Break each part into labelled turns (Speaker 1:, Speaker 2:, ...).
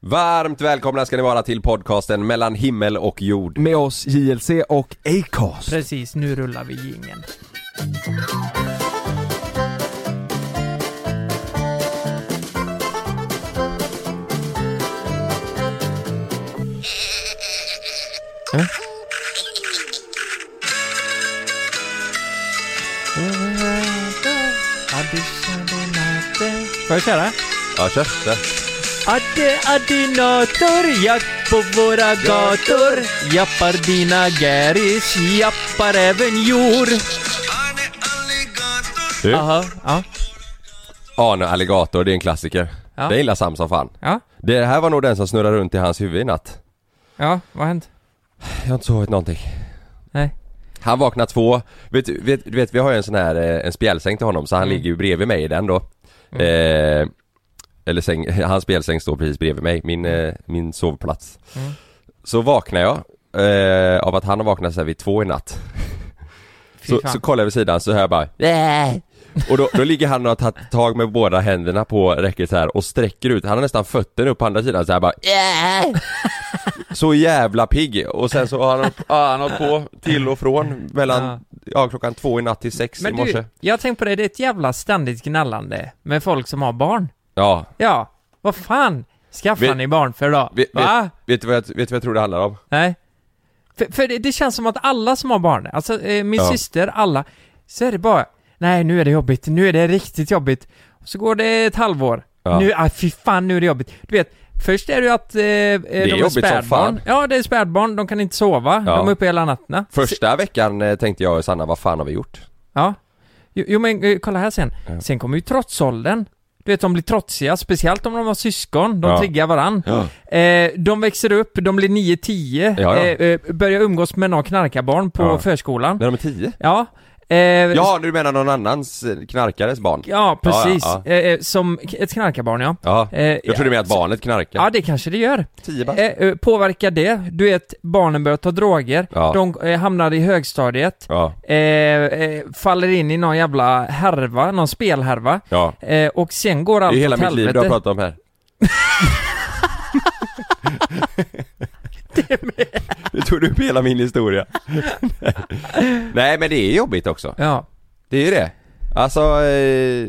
Speaker 1: Varmt välkomna ska ni vara till podcasten mellan himmel och jord.
Speaker 2: Med oss JLC och Acast.
Speaker 3: Precis, nu rullar vi jingeln. Får jag köra?
Speaker 1: Ja, kör. Kör.
Speaker 3: Adde adinator, jakt på våra gator Jappar dina gäris, jappar även jord
Speaker 1: Du,
Speaker 3: Aha, ja,
Speaker 1: Arne Alligator, det är en klassiker.
Speaker 3: Ja.
Speaker 1: Det gillar Sam som fan.
Speaker 3: ja,
Speaker 1: Det här var nog den som snurrade runt i hans huvud i natt.
Speaker 3: ja, vad har hänt?
Speaker 1: Jag har inte sovit någonting.
Speaker 3: Nej,
Speaker 1: Han vaknar två, vet, du- vet, du vet vi har ju en sån här eh, en spjälsäng till honom så
Speaker 3: Mm.
Speaker 1: han ligger ju bredvid mig i den då. Eh, eller säng, hans spjälsäng står precis bredvid mig, min, eh, min sovplats.
Speaker 3: Mm.
Speaker 1: Så vaknar jag eh, av att han har vaknat så här vid två i natt.
Speaker 3: fy
Speaker 1: Så,
Speaker 3: fan.
Speaker 1: så kollar jag vid sidan så hör jag bara "Äh." Och då, då ligger han och har tagit tag med båda händerna på räcket så här och sträcker ut, han har nästan fötterna upp på andra sidan så här bara "Äh." Så jävla pigg! Och sen så har han, ja, han har hållit på till och från mellan, ja.
Speaker 3: Ja.
Speaker 1: klockan två i natt till sex i
Speaker 3: Men
Speaker 1: morse
Speaker 3: du, jag har tänkt på det, det är ett jävla ständigt gnallande med folk som har barn.
Speaker 1: Ja,
Speaker 3: Ja, vad fan skaffar
Speaker 1: Vet-
Speaker 3: ni barn för då?
Speaker 1: vet,
Speaker 3: Va?
Speaker 1: vet, vet, du vad jag, vet du vad jag tror det handlar om?
Speaker 3: Nej. För, för det, det känns som att alla som har barn, alltså eh, min
Speaker 1: Ja.
Speaker 3: syster, alla, så är det bara Nej, nu är det jobbigt, nu är det riktigt jobbigt. Och så går det ett halvår.
Speaker 1: Ja.
Speaker 3: Nu, ah, fy fan, nu är det jobbigt. Du vet, först är det ju att eh, eh, de är
Speaker 1: jobbigt som fan.
Speaker 3: spädbarn. Ja, det är spädbarn, de kan inte sova,
Speaker 1: Ja.
Speaker 3: de är uppe hela nätterna.
Speaker 1: Första veckan eh, tänkte jag och Sanna, vad fan har vi gjort?
Speaker 3: Ja. Jo, jo men eh, kolla här sen.
Speaker 1: Ja.
Speaker 3: Sen kommer ju trotsåldern. Du vet, de blir trotsiga, speciellt om de har syskon. De
Speaker 1: Ja.
Speaker 3: triggar varann. Eh, de växer upp, de blir 9-10.
Speaker 1: Ja, ja.
Speaker 3: Eh, eh, börjar umgås med några knarkarbarn på
Speaker 1: Ja.
Speaker 3: förskolan.
Speaker 1: När de är tio?
Speaker 3: Ja. Eh,
Speaker 1: Ja, du menar någon annans eh, knarkares barn?
Speaker 3: ja, precis.
Speaker 1: Ja,
Speaker 3: Eh, Eh, som k- ett knarkarbarn, ja.
Speaker 1: Ja,
Speaker 3: Eh,
Speaker 1: jag trodde mer att barnet knarkar.
Speaker 3: Ja, det kanske det gör.
Speaker 1: Tio
Speaker 3: Eh,
Speaker 1: bast.
Speaker 3: eh, påverkar det? Du vet, barnen börjar ta droger.
Speaker 1: Ja.
Speaker 3: De eh, hamnar i högstadiet.
Speaker 1: Ja,
Speaker 3: Eh, eh, faller in i någon jävla härva, någon spelhärva.
Speaker 1: ja.
Speaker 3: Eh, och sen går allt
Speaker 1: Det är hela
Speaker 3: åt
Speaker 1: mitt liv du
Speaker 3: helvete.
Speaker 1: har pratat om här. Du tog upp hela min historia. Nej men det är jobbigt också.
Speaker 3: Ja,
Speaker 1: Det är ju det. Alltså, eh,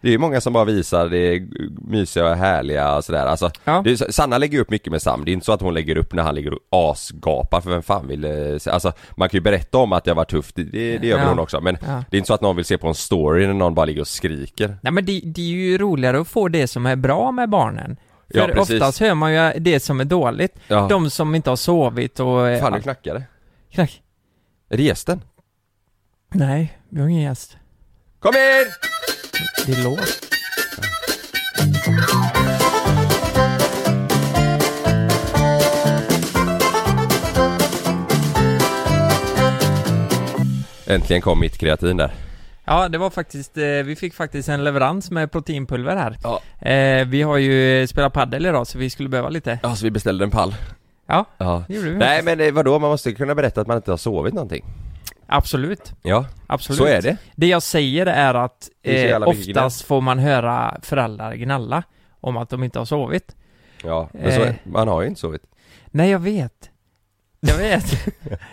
Speaker 1: det är ju många som bara visar det mysiga och härliga och sådär. Alltså,
Speaker 3: Ja.
Speaker 1: det är, Sanna lägger upp mycket med Sam. Det är inte så att hon lägger upp när han ligger och asgapar för vem fan vill eh, se- Alltså, man kan ju berätta om att det har varit tufft. Det, det, det gör väl
Speaker 3: Ja.
Speaker 1: hon också. Men
Speaker 3: ja.
Speaker 1: det är inte så att någon vill se på en story när någon bara ligger och skriker.
Speaker 3: Nej men det, det är ju roligare att få det som är bra med barnen.
Speaker 1: Ja,
Speaker 3: För
Speaker 1: precis.
Speaker 3: oftast hör man ju det som är dåligt.
Speaker 1: Ja.
Speaker 3: De som inte har sovit och... eh,
Speaker 1: Fan, du knackade.
Speaker 3: knack.
Speaker 1: Resten.
Speaker 3: Nej, vi har ingen gäst.
Speaker 1: Kom in!
Speaker 3: Det är låst.
Speaker 1: Äntligen kom mitt kreatin där.
Speaker 3: Ja, det var faktiskt... Eh, vi fick faktiskt en leverans med proteinpulver här.
Speaker 1: Ja.
Speaker 3: Eh, vi har ju eh, spelat padel idag så vi skulle behöva lite.
Speaker 1: Ja, så alltså, vi beställde en pall.
Speaker 3: Ja,
Speaker 1: Ja.
Speaker 3: det gjorde vi.
Speaker 1: Nej men eh, vadå, man måste kunna berätta att man inte har sovit någonting.
Speaker 3: Absolut.
Speaker 1: Ja,
Speaker 3: Absolut.
Speaker 1: så är det.
Speaker 3: Det jag säger är att
Speaker 1: Det är så
Speaker 3: eh,
Speaker 1: jävla mycket
Speaker 3: oftast får man höra föräldrar gnälla om att de inte har sovit.
Speaker 1: Ja, men så,
Speaker 3: Eh.
Speaker 1: man har ju inte sovit.
Speaker 3: Nej, jag vet. Jag vet.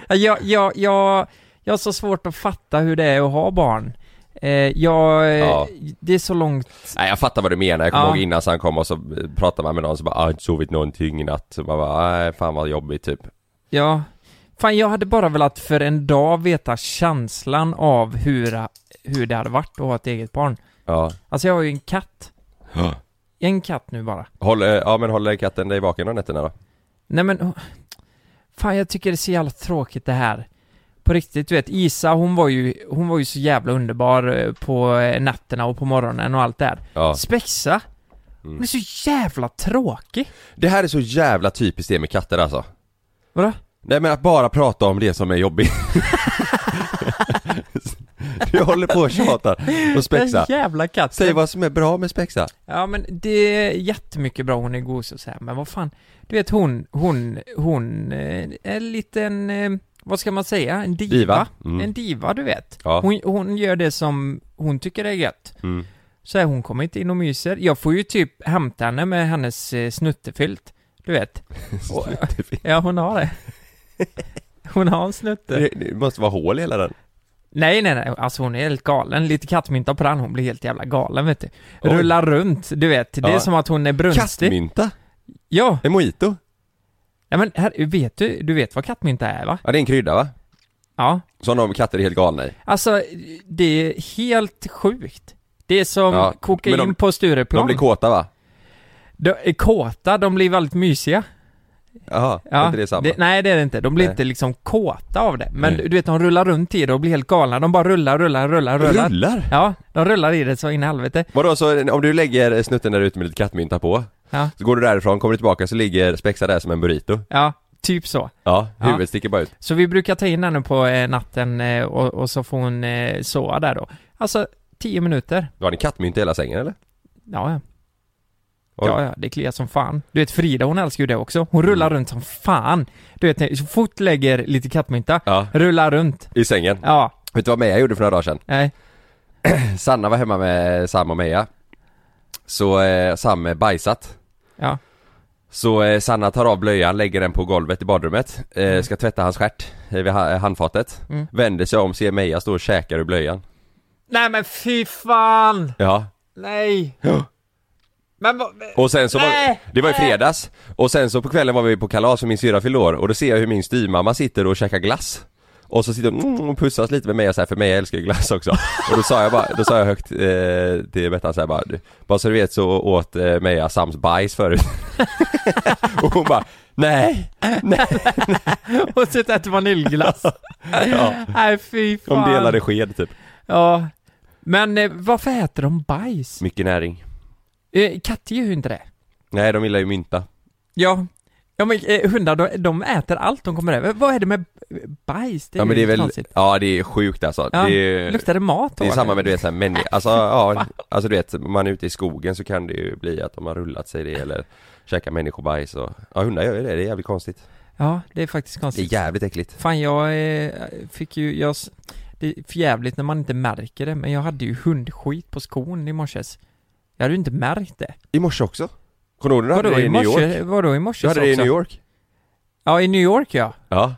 Speaker 3: jag, jag, jag, jag har så svårt att fatta hur det är att ha barn. Eh, jag, eh,
Speaker 1: Ja.
Speaker 3: Det är så långt...
Speaker 1: Nej jag fattar vad du menar, jag kommer
Speaker 3: Ja.
Speaker 1: ihåg innan han kom och så eh, pratade man med någon som bara "Ah, jag har inte sovit någonting i natt. Så man bara nej fan vad jobbigt typ.
Speaker 3: Ja. Fan, jag hade bara velat för en dag veta känslan av hur, hur det hade varit att ha ett eget barn.
Speaker 1: Ja.
Speaker 3: Alltså, jag har ju en katt.
Speaker 1: Ja.
Speaker 3: En katt nu bara.
Speaker 1: Håll, eh, ja men håller katten dig vaken om nätterna då?
Speaker 3: Nej men... oh. Fan, jag tycker det är så jävla tråkigt det här. På riktigt, du vet, Isa hon var ju, hon var ju så jävla underbar eh, på eh, nätterna och på morgonen och allt det där.
Speaker 1: Ja. Mm.
Speaker 3: Spexa? Hon är så jävla tråkig!
Speaker 1: Det här är så jävla typiskt det med katter alltså.
Speaker 3: Vadå?
Speaker 1: Nej men att bara prata om det som är jobbigt. du håller på och tjatar och spexar.
Speaker 3: Den jävla katten!
Speaker 1: Säg vad som är bra med spexa.
Speaker 3: Ja men det är jättemycket bra, hon är gos och så här, men vad fan Du vet hon, hon, hon eh, är en liten, eh, vad ska man säga? En diva?
Speaker 1: Diva. Mm.
Speaker 3: En diva du vet
Speaker 1: Ja.
Speaker 3: hon, hon gör det som hon tycker är gött
Speaker 1: Mm.
Speaker 3: Så här, hon kommer inte in och myser. Jag får ju typ hämta henne med hennes eh, snuttefilt. Du vet. Och- ja, hon har det. Hon har en snutte.
Speaker 1: Det, det måste vara hål i hela den.
Speaker 3: Nej, nej, nej. Alltså hon är helt galen. Lite kattmynta på den. Hon blir helt jävla galen, vet du.
Speaker 1: Oj.
Speaker 3: Rullar runt, du vet. Det är
Speaker 1: Ja.
Speaker 3: som att hon är brunstig.
Speaker 1: Kastmynta?
Speaker 3: Ja.
Speaker 1: En mojito?
Speaker 3: ja, men här, vet du, du vet vad kattmynta är, va?
Speaker 1: Ja, det är en krydda va?
Speaker 3: Ja.
Speaker 1: Som de katter är helt galna i.
Speaker 3: Alltså, det är helt sjukt. Det är som
Speaker 1: Ja,
Speaker 3: kokain
Speaker 1: men de-
Speaker 3: på
Speaker 1: De
Speaker 3: Stureplan.
Speaker 1: blir kåta va?
Speaker 3: De är kåta, de blir väldigt mysiga.
Speaker 1: Jaha, är inte det samma?
Speaker 3: nej det är det inte, de blir
Speaker 1: Nej.
Speaker 3: inte liksom kåta av det. Men
Speaker 1: Nej.
Speaker 3: du- du vet, de rullar runt i det och blir helt galna. De bara rullar, rullar, rullar, rullar.
Speaker 1: Rullar?
Speaker 3: Ja, de rullar i det så in i helvete.
Speaker 1: Vadå så om du lägger snutten där ute med lite kattmynta på?
Speaker 3: Ja.
Speaker 1: Så går du därifrån, kommer du tillbaka så ligger Spexa där som en burrito.
Speaker 3: Ja, typ så.
Speaker 1: Ja,
Speaker 3: Ja.
Speaker 1: huvudet sticker bara ut.
Speaker 3: Så vi brukar ta in henne på eh, natten eh, och, och så får hon eh, sova där då. Alltså, tio minuter.
Speaker 1: Har ni kattmynta i hela sängen eller?
Speaker 3: Ja, ja.
Speaker 1: Oj.
Speaker 3: Ja, ja, det kliar som fan. Du vet Frida, hon älskar ju det också. Hon rullar
Speaker 1: Mm.
Speaker 3: runt som fan. Du vet, när- så fort lägger lite kattmynta,
Speaker 1: Ja,
Speaker 3: rullar runt.
Speaker 1: i sängen.
Speaker 3: Ja,
Speaker 1: Vet du vad Meja gjorde för några dagar sedan?
Speaker 3: nej.
Speaker 1: Sanna var hemma med Sam och Meja. Så eh, Sam är bajsat.
Speaker 3: Ja.
Speaker 1: Så eh, Sanna tar av blöjan, lägger den på golvet i badrummet. Eh, ska tvätta hans stjärt eh, vid ha- handfatet.
Speaker 3: Mm.
Speaker 1: Vänder sig om, ser Meja stå och käkar ur blöjan.
Speaker 3: Nej men fy fan!
Speaker 1: Ja.
Speaker 3: Nej!
Speaker 1: Ja.
Speaker 3: Men vad...
Speaker 1: Och sen så var,
Speaker 3: Nej!
Speaker 1: det var i fredags, och sen så på kvällen var vi på kalas för min syrra fyllde år och då ser jag hur min styvmamma sitter och käkar glass Och så sitter hon mm, och pussas lite med mig och så här, för mig jag älskar ju glass också Och då sa jag bara, då sa jag högt eh, till Bettan så här bara, du, bara så du vet så åt eh, Meja Sams bajs förut Och hon bara, nej, nej,
Speaker 3: Och så äter vaniljglass.
Speaker 1: Ja.
Speaker 3: Nej fy fan.
Speaker 1: de delade sked typ
Speaker 3: Ja. Men eh, varför äter de bajs?
Speaker 1: Mycket näring
Speaker 3: Eh, katter gör ju inte det.
Speaker 1: Nej de gillar ju mynta
Speaker 3: Ja. Ja men eh, hundar, de, de äter allt de kommer över. Vad är det med bajs? Det är,
Speaker 1: Ja men det är väl,
Speaker 3: konstigt.
Speaker 1: ja det är sjukt alltså
Speaker 3: Ja,
Speaker 1: det är,
Speaker 3: Luktar det mat då?
Speaker 1: Det är samma
Speaker 3: eller?
Speaker 1: med du vet såhär människa, alltså ja, alltså du vet, man är ute i skogen så kan det ju bli att de har rullat sig det eller käkat människobajs och, ja hundar gör ju det, det är jävligt konstigt
Speaker 3: Ja, det är faktiskt
Speaker 1: Det
Speaker 3: konstigt.
Speaker 1: är jävligt äckligt
Speaker 3: Fan jag eh, fick ju, jag, s- det är för jävligt när man inte märker det, men jag hade ju hundskit på skon i morses. Jag hade ju inte märkt det.
Speaker 1: I morse också? Kommer du ihåg när du hade det i New York?
Speaker 3: Vadå i morse?
Speaker 1: Du hade det i New York?
Speaker 3: Ja, i New York ja.
Speaker 1: Ja,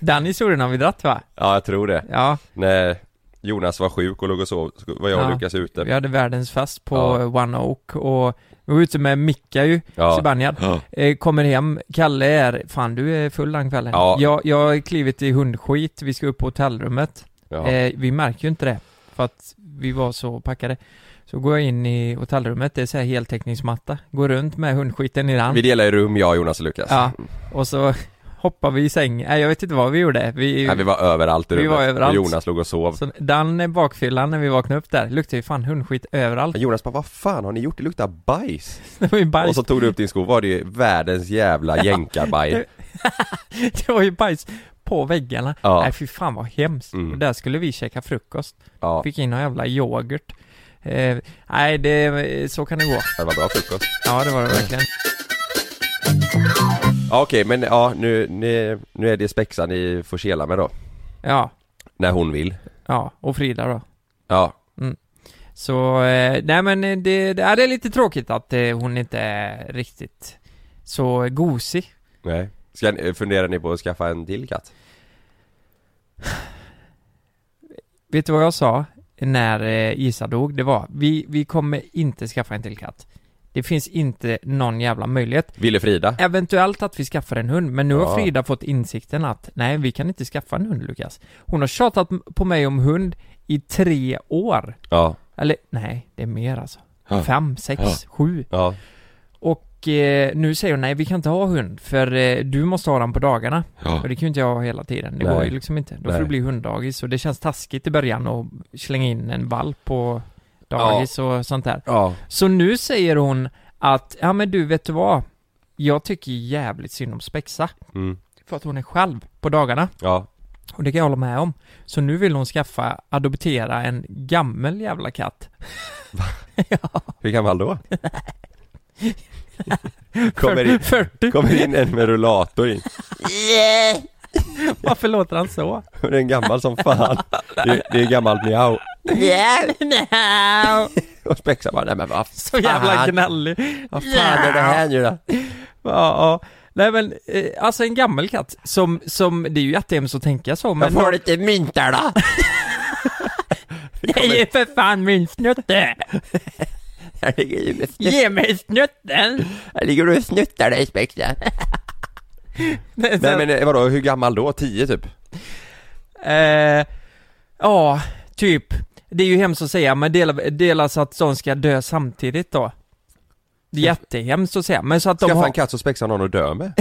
Speaker 3: Den historien har vi dratt va?
Speaker 1: ja jag tror det
Speaker 3: Ja,
Speaker 1: När Jonas var sjuk och låg och sov, så var jag och
Speaker 3: Ja.
Speaker 1: Lukas ute
Speaker 3: vi hade världens fest på
Speaker 1: Ja.
Speaker 3: eh, One Oak och vi var ute med Micka ju,
Speaker 1: Ja,
Speaker 3: Zibanejad. Eh, kommer hem, Kalle är, fan du är full den kvällen.
Speaker 1: Ja.
Speaker 3: Jag, jag har klivit i hundskit, vi ska upp på hotellrummet.
Speaker 1: ja,
Speaker 3: Eh, vi märker ju inte det, för att vi var så packade. Så går jag in i hotellrummet, det är så här heltäckningsmatta. Går runt med hundskiten i
Speaker 1: vi
Speaker 3: hand.
Speaker 1: delar ju rum jag, Jonas och Lukas
Speaker 3: Ja, och så hoppar vi i sängen. Nej, jag vet inte vad vi gjorde. Vi,
Speaker 1: Nej, vi var överallt i
Speaker 3: Vi
Speaker 1: rummet
Speaker 3: var överallt.
Speaker 1: och Jonas låg och sov
Speaker 3: så den eh, bakfyllan när vi vaknade upp där, luktade ju fan hundskit överallt.
Speaker 1: Jonas bara, vad fan har ni gjort? Det luktar bajs!
Speaker 3: Det var ju
Speaker 1: Och
Speaker 3: bajs.
Speaker 1: så tog du upp din sko, var det ju världens jävla jänkarbajs
Speaker 3: Det var ju bajs på väggarna.
Speaker 1: Ja.
Speaker 3: Nej, fy fan vad hemskt.
Speaker 1: Mm.
Speaker 3: Och där skulle vi käka frukost.
Speaker 1: Ja,
Speaker 3: Fick in någon jävla yoghurt. Eh, nej, det, så kan det gå.
Speaker 1: det var bra frukost.
Speaker 3: Ja, det var det verkligen.
Speaker 1: Ja, okej, men ja, nu, nu, nu är det spexan ni får kela med då.
Speaker 3: Ja,
Speaker 1: När hon vill.
Speaker 3: ja, och Frida då.
Speaker 1: Ja,
Speaker 3: Så, eh, nej men eh, det, det, ja, det är lite tråkigt att eh, hon inte är riktigt så gosig.
Speaker 1: nej. Ska, ni- funderar ni på att skaffa en till katt?
Speaker 3: Vet du vad jag sa när eh, Isa dog? Det var, vi, vi kommer inte skaffa en till katt. Det finns inte någon jävla möjlighet.
Speaker 1: Ville Frida?
Speaker 3: Eventuellt att vi skaffar en hund, men nu har
Speaker 1: Ja.
Speaker 3: Frida fått insikten att nej, vi kan inte skaffa en hund Lukas. Hon har tjatat m- på mig om hund i tre år.
Speaker 1: Ja.
Speaker 3: Eller nej, det är mer alltså.
Speaker 1: Ja.
Speaker 3: Fem, sex,
Speaker 1: Ja.
Speaker 3: sju.
Speaker 1: Ja.
Speaker 3: Och eh, nu säger hon nej, vi kan inte ha hund för eh, du måste ha den på dagarna.
Speaker 1: Ja.
Speaker 3: Och det kan ju inte jag ha hela tiden. Det
Speaker 1: Nej.
Speaker 3: går ju liksom inte. Då får
Speaker 1: Nej.
Speaker 3: det bli hunddagis och det känns taskigt i början att slänga in en valp på dagis och sånt där.
Speaker 1: Ja.
Speaker 3: Så nu säger hon att, ja men du vet du vad? Jag tycker jävligt synd om Spexa.
Speaker 1: Mm.
Speaker 3: För att hon är själv på dagarna.
Speaker 1: Ja.
Speaker 3: Och det kan jag hålla med om. Så nu vill hon skaffa, adoptera en gammal jävla katt.
Speaker 1: Hur gammal då? kommer, in,
Speaker 3: 40,
Speaker 1: kommer in en med rullator in.
Speaker 3: varför låter han så?
Speaker 1: Det är en gammal som fan. Det, är- det är gammalt miau. Och Spexa bara, nej men vad
Speaker 3: Så jävla
Speaker 1: fan.
Speaker 3: gnällig. Vad
Speaker 1: fan är det här nu då?
Speaker 3: Ja, ja. Nej men, eh, alltså en gammal katt som, som, det är ju jättehemskt att tänka så men...
Speaker 1: Jag får lite mynt där då!
Speaker 3: Det är ju för fan min snutte!
Speaker 1: Här ligger du med snutt-
Speaker 3: Ge mig snutten!
Speaker 1: här ligger du och snuttar dig Spexa. Nej men eh, vadå, hur gammal då? 10 typ?
Speaker 3: Eh, ja, typ. Det är ju hemskt att säga, men dela, dela så att de ska dö samtidigt då. Det är jättehemskt att säga, men så att de
Speaker 1: Skaffa
Speaker 3: har...
Speaker 1: en katt så Spexa har någon att dö med?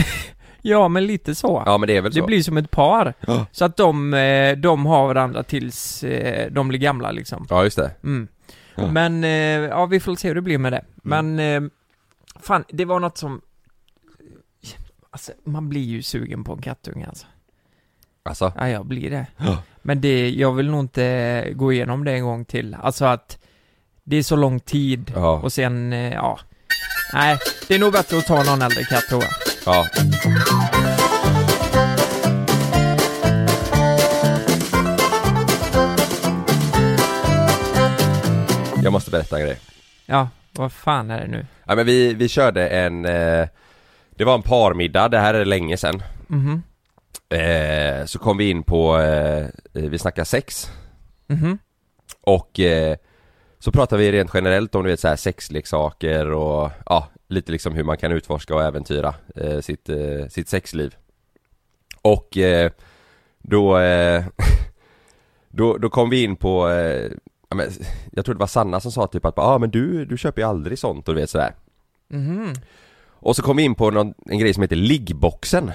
Speaker 3: Ja, men lite så.
Speaker 1: Ja men det är väl
Speaker 3: det
Speaker 1: så?
Speaker 3: blir som ett par.
Speaker 1: Ja.
Speaker 3: Så att de, eh, de har varandra tills eh, de blir gamla liksom.
Speaker 1: Ja just det.
Speaker 3: Mm.
Speaker 1: Ja. Mm.
Speaker 3: Men, eh, ja vi får se hur det blir med det. Men, eh, fan, det var något som... Alltså, man blir ju sugen på en kattunge alltså.
Speaker 1: Alltså,
Speaker 3: Ja, jag blir det.
Speaker 1: Ja.
Speaker 3: Men det, jag vill nog inte gå igenom det en gång till. Alltså att det är så lång tid
Speaker 1: ja.
Speaker 3: och sen, eh, ja. Nej, det är nog bättre att ta någon äldre katt tror jag.
Speaker 1: ja. Jag måste berätta en grej.
Speaker 3: Ja, vad fan är det nu?
Speaker 1: Ja, men vi, vi körde en, eh, det var en parmiddag, det här är länge sedan.
Speaker 3: Mhm,
Speaker 1: Eh, så kom vi in på, eh, vi snackade sex
Speaker 3: mhm,
Speaker 1: och eh, så pratade vi rent generellt om du vet så här sexleksaker och ja, lite liksom hur man kan utforska och äventyra eh, sitt, eh, sitt sexliv. Och eh, då, eh, då, då kom vi in på, eh, ja, men, jag tror det var Sanna som sa typ att ah, men du, du köper ju aldrig sånt och du vet sådär.
Speaker 3: mhm.
Speaker 1: Och så kom vi in på någon, en grej som heter liggboxen.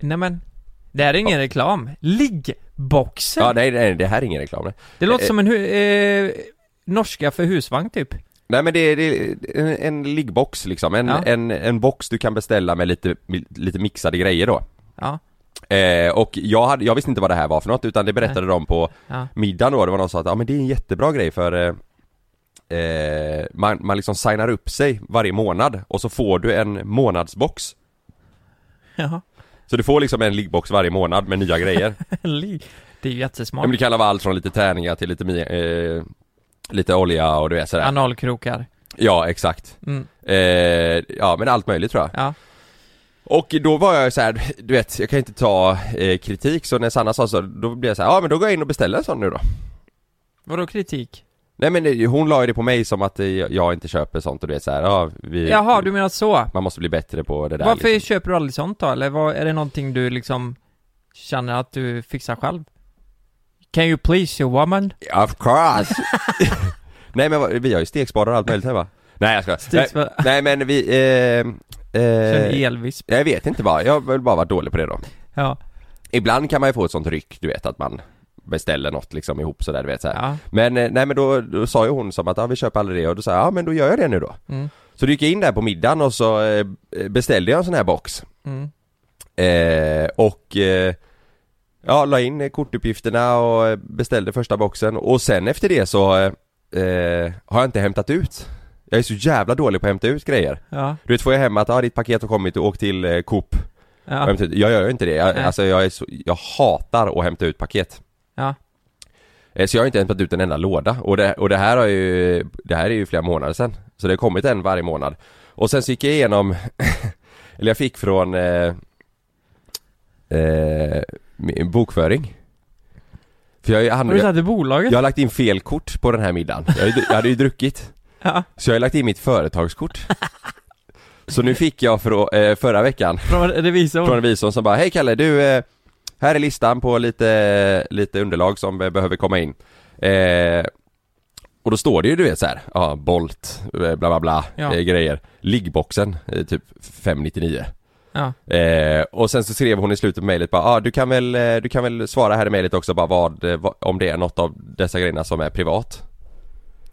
Speaker 3: Nej men, det här är ingen reklam. Liggboxen!
Speaker 1: Ja,
Speaker 3: det,
Speaker 1: nej, nej, det här är ingen reklam. nej.
Speaker 3: låter
Speaker 1: eh,
Speaker 3: som en hu- eh, norska för husvagn typ.
Speaker 1: Nej men det är, det är en, en liggbox liksom, en,
Speaker 3: Ja.
Speaker 1: en, en box du kan beställa med lite, lite mixade grejer då.
Speaker 3: Ja,
Speaker 1: Eh, och jag, hade, jag visste inte vad det här var för något utan det berättade de på
Speaker 3: ja.
Speaker 1: middagen då, det var någon som sa att ja men det är en jättebra grej för eh, eh, man, man liksom signar upp sig varje månad och så får du en månadsbox.
Speaker 3: Jaha.
Speaker 1: Så du får liksom en liggbox varje månad med nya grejer.
Speaker 3: Ligg. Det är ju
Speaker 1: ja,
Speaker 3: jättesmart.
Speaker 1: men det kan vara allt från lite tärningar till lite, mi- eh, lite olja och du vet sådär.
Speaker 3: Analkrokar.
Speaker 1: Ja exakt.
Speaker 3: Mm.
Speaker 1: Eh, ja men allt möjligt tror jag.
Speaker 3: Ja.
Speaker 1: Och då var jag så här, du vet, jag kan inte ta eh, kritik så när Sanna sa så, då blev jag så här, ja men då går jag in och beställer en sån nu då.
Speaker 3: Vadå kritik?
Speaker 1: Nej men det- hon la ju det på mig som att eh, jag inte köper sånt och du vet så här, ja vi,
Speaker 3: Jaha, du menar så?
Speaker 1: man måste bli bättre på det där
Speaker 3: Varför
Speaker 1: liksom.
Speaker 3: köper du aldrig sånt då? Eller vad, är det någonting du liksom känner att du fixar själv? Can you please your woman?
Speaker 1: liksom." Of course! Nej men vad- vi har ju stekspadar och allt möjligt här va? Nej jag ska. Nej,
Speaker 3: Stegspadar.
Speaker 1: nej men vi, eh,
Speaker 3: Känner
Speaker 1: eh,
Speaker 3: elvisp.
Speaker 1: jag vet inte bara, jag har väl bara varit dålig på det då.
Speaker 3: Ja.
Speaker 1: Ibland kan man ju få ett sånt ryck, du vet att man beställer något liksom ihop sådär du vet så här.
Speaker 3: ja.
Speaker 1: Men eh, nej men då, då sa ju hon som att ja, vi köper aldrig det och då sa jag ja men då gör jag det nu då.
Speaker 3: Mm.
Speaker 1: Så då gick jag in där på middagen och så eh, beställde jag en sån här box.
Speaker 3: Mm.
Speaker 1: Eh, och eh, ja, la in eh, kortuppgifterna och eh, beställde första boxen och sen efter det så eh, eh, har jag inte hämtat ut. Jag är så jävla dålig på att hämta ut grejer.
Speaker 3: Ja.
Speaker 1: Du vet får jag hem att ja, ditt paket har kommit och åk till eh, Coop. och
Speaker 3: Ja.
Speaker 1: hämta ut. Jag gör ju inte det. Jag,
Speaker 3: Nej.
Speaker 1: alltså jag, är så, jag hatar att hämta ut paket.
Speaker 3: Ja.
Speaker 1: Eh, Så jag har inte hämtat ut en enda låda och det, och det här har ju, det här är ju flera månader sedan. Så det har kommit en varje månad. Och sen så gick jag igenom, eller jag fick från eh, eh, min bokföring. För jag, har ju
Speaker 3: Har du
Speaker 1: använt-
Speaker 3: tagit till bolaget?
Speaker 1: jag har lagt in fel kort på den här middagen. Jag, har ju- jag hade ju druckit.
Speaker 3: Ja.
Speaker 1: Så jag har lagt in mitt företagskort. Så nu fick jag för, eh, förra veckan
Speaker 3: Från revisorn?
Speaker 1: från revisorn som bara Hej Kalle, du, eh, här är listan på lite, lite underlag som eh, behöver komma in eh, Och då står det ju du vet så här, ja Bolt, eh, bla bla bla,
Speaker 3: Ja.
Speaker 1: eh, grejer Liggboxen, eh, typ 599
Speaker 3: Ja.
Speaker 1: Eh, och sen så skrev hon i slutet på mejlet bara, ah, du, kan väl, eh, du kan väl svara här i mejlet också bara vad, eh, vad, om det är något av dessa grejerna som är privat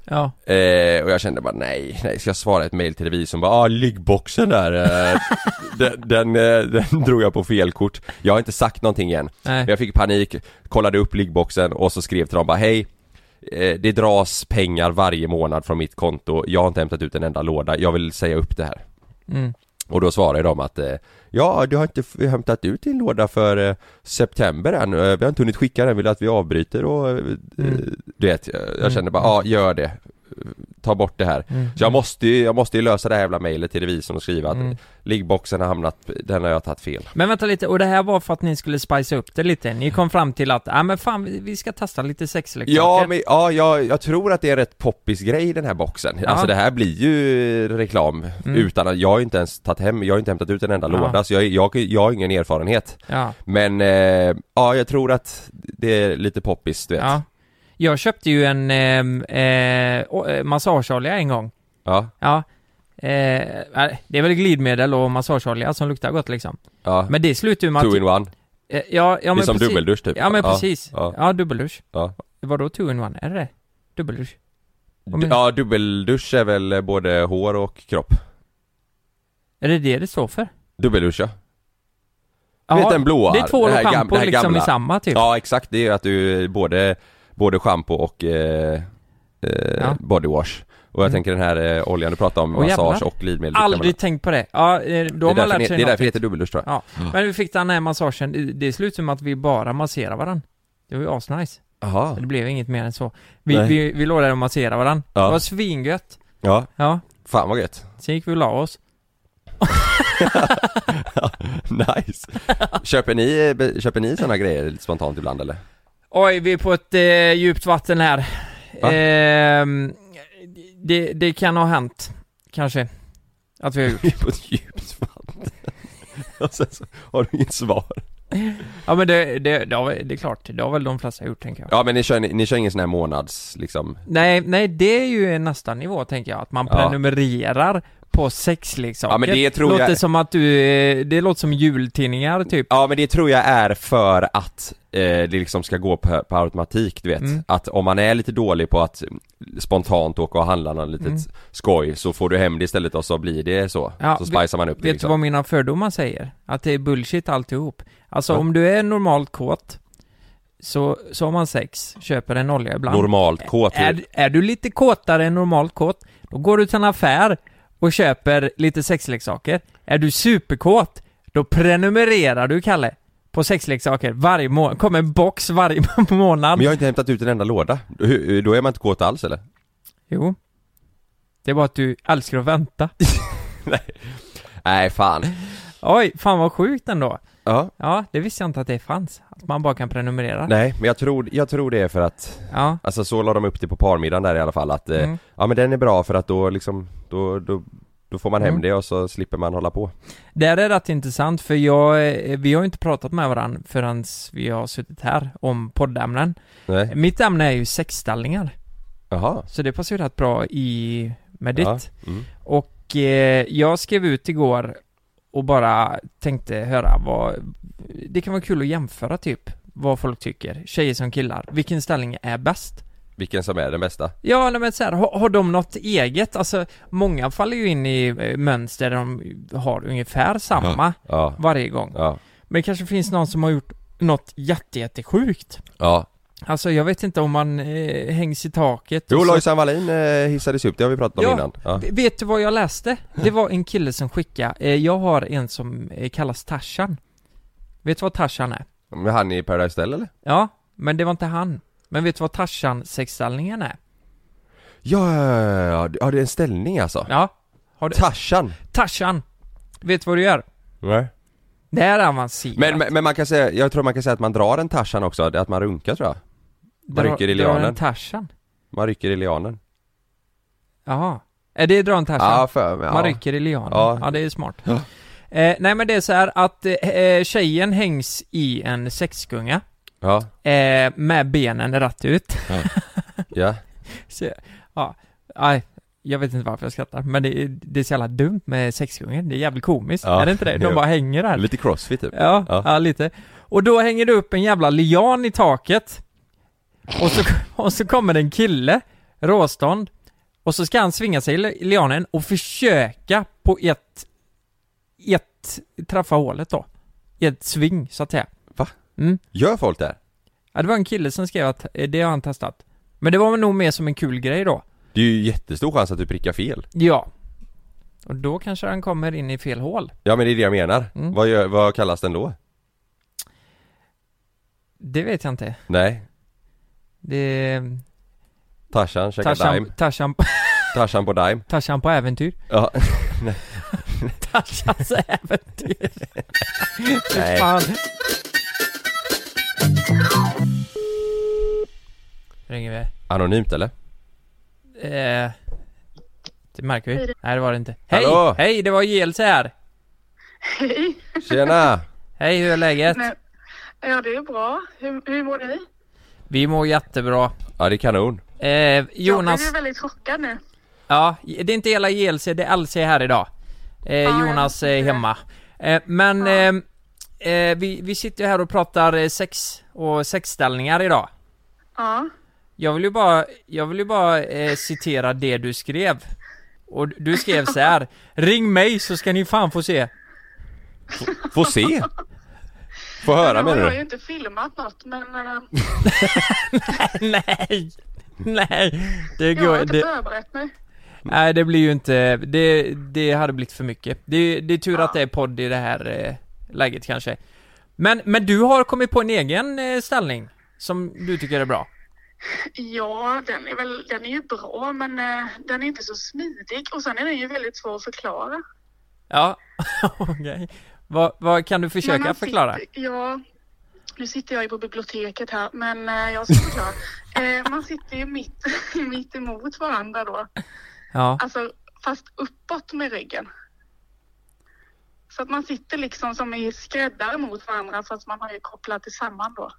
Speaker 3: Ja.
Speaker 1: Eh, och jag kände bara nej, nej, ska jag svara ett mail till revisorn? Bara, ah, liggboxen där, eh, den, den, eh, den drog jag på fel kort. Jag har inte sagt någonting än.
Speaker 3: Nej.
Speaker 1: Jag fick panik, kollade upp liggboxen och så skrev till dem bara hej, eh, det dras pengar varje månad från mitt konto, jag har inte hämtat ut en enda låda, jag vill säga upp det här.
Speaker 3: Mm.
Speaker 1: Och då svarar de att eh, Ja, du har inte f- hämtat ut din låda för eh, September än, Eh, vi har inte hunnit skicka den, vill du att vi avbryter och eh,
Speaker 3: Mm.
Speaker 1: Du vet, jag, jag känner bara,
Speaker 3: Mm.
Speaker 1: ja gör det Ta bort det här
Speaker 3: Mm.
Speaker 1: Så jag måste ju, jag måste ju lösa det här jävla mejlet till revisorn och skriva att
Speaker 3: Mm.
Speaker 1: Liggboxen har hamnat, den har jag tagit fel
Speaker 3: Men vänta lite, och det här var för att ni skulle spicea upp det lite? Ni kom fram till att, ja men fan vi- vi ska testa lite sexleksaker?
Speaker 1: Ja, men, ja jag, jag tror att det är en rätt poppis grej den här boxen
Speaker 3: Ja.
Speaker 1: Alltså det här blir ju reklam
Speaker 3: Mm.
Speaker 1: utan att, jag har ju inte ens tagit hem, jag har inte hämtat ut en enda
Speaker 3: Ja.
Speaker 1: låda så jag, jag, jag har ingen erfarenhet
Speaker 3: Ja,
Speaker 1: Men, eh, ja jag tror att det är lite poppis du vet
Speaker 3: ja. Jag köpte ju en eh, eh, å- eh, massageolja en gång.
Speaker 1: Ja,
Speaker 3: Ja. Eh, nej, det är väl glidmedel och massageolja som luktar gott liksom.
Speaker 1: ja.
Speaker 3: Men det slutar ju med att...
Speaker 1: Two in one.
Speaker 3: Eh, ja, ja,
Speaker 1: det
Speaker 3: men
Speaker 1: är som
Speaker 3: precis.
Speaker 1: dubbeldusch typ.
Speaker 3: Ja men precis.
Speaker 1: ja.
Speaker 3: Ja, dubbeldusch.
Speaker 1: Ja.
Speaker 3: Vadå two in one? Är det det Dubbeldusch?
Speaker 1: D- ja, dubbeldusch är väl eh, både hår och kropp.
Speaker 3: Är det det det står för?
Speaker 1: Dubbeldusch ja.
Speaker 3: Ja,
Speaker 1: vet den blåa,
Speaker 3: Det är två
Speaker 1: det här
Speaker 3: och
Speaker 1: gam-
Speaker 3: schampo
Speaker 1: det här
Speaker 3: liksom
Speaker 1: gamla.
Speaker 3: i samma typ.
Speaker 1: Ja exakt, det är ju att du eh, både, både schampo och eh, eh,
Speaker 3: Ja.
Speaker 1: bodywash. Och jag
Speaker 3: Mm.
Speaker 1: tänker den här eh, oljan du pratade om,
Speaker 3: Åh,
Speaker 1: massage
Speaker 3: jävlar.
Speaker 1: och glidmedel. kan man-
Speaker 3: Aldrig tänkt på det. Ja, eh, då
Speaker 1: det
Speaker 3: har
Speaker 1: är
Speaker 3: man
Speaker 1: därför,
Speaker 3: lärt
Speaker 1: ni-
Speaker 3: sig
Speaker 1: det är därför
Speaker 3: någonting.
Speaker 1: det heter dubbeldusch tror jag.
Speaker 3: Ja, men vi fick den här massagen, Det- det slutade med att vi bara masserade varandra. Det var ju asnice.
Speaker 1: Jaha.
Speaker 3: Det blev inget mer än så. Vi,
Speaker 1: Nej.
Speaker 3: vi, vi låg där och masserade varandra.
Speaker 1: Ja.
Speaker 3: Det var svingött.
Speaker 1: Ja,
Speaker 3: Ja,
Speaker 1: fan vad gött.
Speaker 3: sen gick vi och la oss.
Speaker 1: nice. köper ni, eh, be- köper ni sådana grejer lite spontant ibland eller?
Speaker 3: Oj, vi är på ett eh, djupt vatten här.
Speaker 1: Va?
Speaker 3: Ehm, det, det kan ha hänt, kanske. Att vi har gjort.
Speaker 1: på ett djupt vatten. och sen så har du inget svar.
Speaker 3: Ja men det, det, det, har, väl- det är klart, det har väl de flesta gjort tänker jag.
Speaker 1: Ja men ni kör, ni, ni kör ingen sån här månads liksom
Speaker 3: Nej, nej det är ju nästa nivå tänker jag, att man
Speaker 1: Ja.
Speaker 3: prenumererar på sexleksaker.
Speaker 1: Ja, men det tror jag-
Speaker 3: låter som att du, eh, det låter som jultidningar typ.
Speaker 1: Ja men det tror jag är för att eh, det liksom ska gå på, på automatik du vet
Speaker 3: Mm.
Speaker 1: Att om man är lite dålig på att spontant åka och handla något litet
Speaker 3: Mm.
Speaker 1: skoj så får du hem det istället och så blir det så
Speaker 3: Ja,
Speaker 1: Så
Speaker 3: vi-
Speaker 1: spicar man upp det
Speaker 3: Vet du
Speaker 1: liksom
Speaker 3: vad mina fördomar säger? Att det är bullshit alltihop. Alltså
Speaker 1: Ja.
Speaker 3: om du är normalt kåt, så, så har man sex, köper en olja ibland.
Speaker 1: Normalt kåt
Speaker 3: är, är du lite kåtare än normalt kåt, då går du till en affär och köper lite sexleksaker. Är du superkåt, då prenumererar du, Kalle, på sexleksaker varje månad. Kommer en box varje månad.
Speaker 1: Men jag har inte hämtat ut en enda låda, Hur- då är man inte kåt alls eller?
Speaker 3: Jo. Det är bara att du älskar att vänta.
Speaker 1: Nej fan
Speaker 3: Oj, fan vad sjukt ändå.
Speaker 1: Ja,
Speaker 3: Ja, det visste jag inte att det fanns. Att man bara kan prenumerera.
Speaker 1: nej men jag tror, jag tror det är för att
Speaker 3: Ja.
Speaker 1: Alltså så la de upp det på parmiddagen där i alla fall att eh,
Speaker 3: Mm.
Speaker 1: Ja men den är bra för att då liksom, då, då, då får man hem
Speaker 3: Mm.
Speaker 1: det och så slipper man hålla på
Speaker 3: Där är det rätt intressant för jag, eh, vi har ju inte pratat med varandra förrän vi har suttit här om poddämnen.
Speaker 1: Nej,
Speaker 3: Mitt ämne är ju sexställningar.
Speaker 1: jaha
Speaker 3: Så det passar ju rätt bra i med ditt.
Speaker 1: Ja, mm.
Speaker 3: Och eh, jag skrev ut igår och bara tänkte höra vad... Det kan vara kul att jämföra typ vad folk tycker, tjejer som killar. Vilken ställning är bäst?
Speaker 1: Vilken som är den bästa?
Speaker 3: Ja, nej, men så här, har, har de något eget? Alltså, många faller ju in i eh, mönster där de har ungefär samma
Speaker 1: Ja,
Speaker 3: varje gång.
Speaker 1: ja,
Speaker 3: Men det kanske finns någon som har gjort något jätte, jättesjukt.
Speaker 1: ja
Speaker 3: Alltså, jag vet inte om man eh, hängs i taket. och
Speaker 1: Jo,
Speaker 3: så-
Speaker 1: Lojsan Wallin eh, hissades upp, det har vi pratat om
Speaker 3: Ja.
Speaker 1: innan ja.
Speaker 3: V- Vet du vad jag läste? Det var en kille som skickade, eh, jag har en som eh, kallas Tarzan Vet du vad Tarzan är?
Speaker 1: Men han i Paradise Hotel eller?
Speaker 3: Ja, men det var inte han Men vet du vad Tarzan sexställningen är?
Speaker 1: Ja, ja, ja, ja, ja, det är en ställning alltså
Speaker 3: Ja, har du...
Speaker 1: Tarzan!
Speaker 3: Tarzan! Vet du vad du gör? Det här är avancerat
Speaker 1: Men, men, men man kan säga, jag tror man kan säga att man drar en Tarzan också, det är att man runkar tror jag man
Speaker 3: Dra-
Speaker 1: rycker i
Speaker 3: drar
Speaker 1: lianen.
Speaker 3: en Tarzan?
Speaker 1: Man rycker i lianen
Speaker 3: Jaha, är det dra en Tarzan?
Speaker 1: Ja, för mig,
Speaker 3: Man
Speaker 1: ja.
Speaker 3: rycker i lianen?
Speaker 1: Ja.
Speaker 3: Ja, det är smart
Speaker 1: Ja.
Speaker 3: eh, Nej men det är så här att eh, eh, tjejen hängs i en sexgunga
Speaker 1: ja,
Speaker 3: eh, Med benen rätt ut
Speaker 1: ja,
Speaker 3: Så, ja, nej, jag vet inte varför jag skrattar, men det, är- det är så jävla dumt med sexgången, det är jävligt komiskt,
Speaker 1: Ja,
Speaker 3: är det inte det?
Speaker 1: jo.
Speaker 3: De bara hänger där.
Speaker 1: lite crossfit typ
Speaker 3: Ja,
Speaker 1: Ja.
Speaker 3: ja. lite. Och då hänger det upp en jävla lian i taket. Och så, och så kommer det en kille, råstånd, och så ska han svinga sig i li- lianen och försöka på ett, ett, träffa hålet då. I ett sving, så att säga. Mm.
Speaker 1: Gör folk det? här?
Speaker 3: Ja, det var en kille som skrev att eh, det har han testat. Men det var nog mer som en kul grej då.
Speaker 1: Det är ju jättestor chans att du prickar fel
Speaker 3: Ja. Och då kanske han kommer in i fel hål.
Speaker 1: Ja men det är det jag menar.
Speaker 3: Mm.
Speaker 1: Vad, gör, vad kallas den då?
Speaker 3: Det vet jag inte.
Speaker 1: Nej,
Speaker 3: Det är...
Speaker 1: Tarzan käkar dime.
Speaker 3: Tarzan, Tarzan,
Speaker 1: Tarzan på dime.
Speaker 3: Tarzan på äventyr.
Speaker 1: Ja.
Speaker 3: Tarzans äventyr.
Speaker 1: Nej.
Speaker 3: Fan. Ringer vi?
Speaker 1: Anonymt eller?
Speaker 3: Eh, det märker vi. Nej det var det inte. Hej!
Speaker 1: Hallå!
Speaker 3: Hej, det var JLC här!
Speaker 4: Hej!
Speaker 1: Tjena!
Speaker 3: Hej, hur är läget?
Speaker 4: Men- Ja, det är bra. Hur, hur mår ni?
Speaker 3: Vi mår jättebra.
Speaker 1: Ja det är kanon.
Speaker 3: Eh, Jonas...
Speaker 4: Jag blev väldigt chockad nu.
Speaker 3: Ja, det är inte hela JLC, det är LC här idag. Eh,
Speaker 4: Ja, jag
Speaker 3: Jonas är
Speaker 4: förstår det.
Speaker 3: hemma. Eh, men eh, eh, vi, vi sitter ju här och pratar eh, sex och sexställningar idag.
Speaker 4: Ja.
Speaker 3: Jag vill ju bara, jag vill ju bara eh, citera det du skrev. Och du skrev så här. Ring mig så ska ni fan få se.
Speaker 1: Få se! Få höra
Speaker 4: nu har
Speaker 1: menar
Speaker 4: jag ju
Speaker 1: du?
Speaker 4: inte filmat något, men eh,
Speaker 3: Nej! Nej! Det
Speaker 4: jag har
Speaker 3: går,
Speaker 4: inte
Speaker 3: det,
Speaker 4: förberett mig.
Speaker 3: nej det blir ju inte, det, det hade blivit för mycket. Det, det är tur att det är podd i det här eh, läget kanske. Men, men du har kommit på en egen eh, ställning som du tycker är bra.
Speaker 4: Ja, den är, väl, den är ju bra, men eh, den är inte så smidig. Och sen är den ju väldigt svår att förklara.
Speaker 3: Ja, okej. Vad, vad kan du
Speaker 4: Men
Speaker 3: försöka
Speaker 4: man
Speaker 3: förklara?
Speaker 4: Sitter, ja, nu sitter jag ju på biblioteket här, men eh, jag ska förklara. eh, man sitter ju mitt, mitt emot varandra då.
Speaker 3: Ja,
Speaker 4: Alltså, fast uppåt med ryggen. Så att man sitter liksom som i skräddare mot varandra fast man har ju kopplat samman då.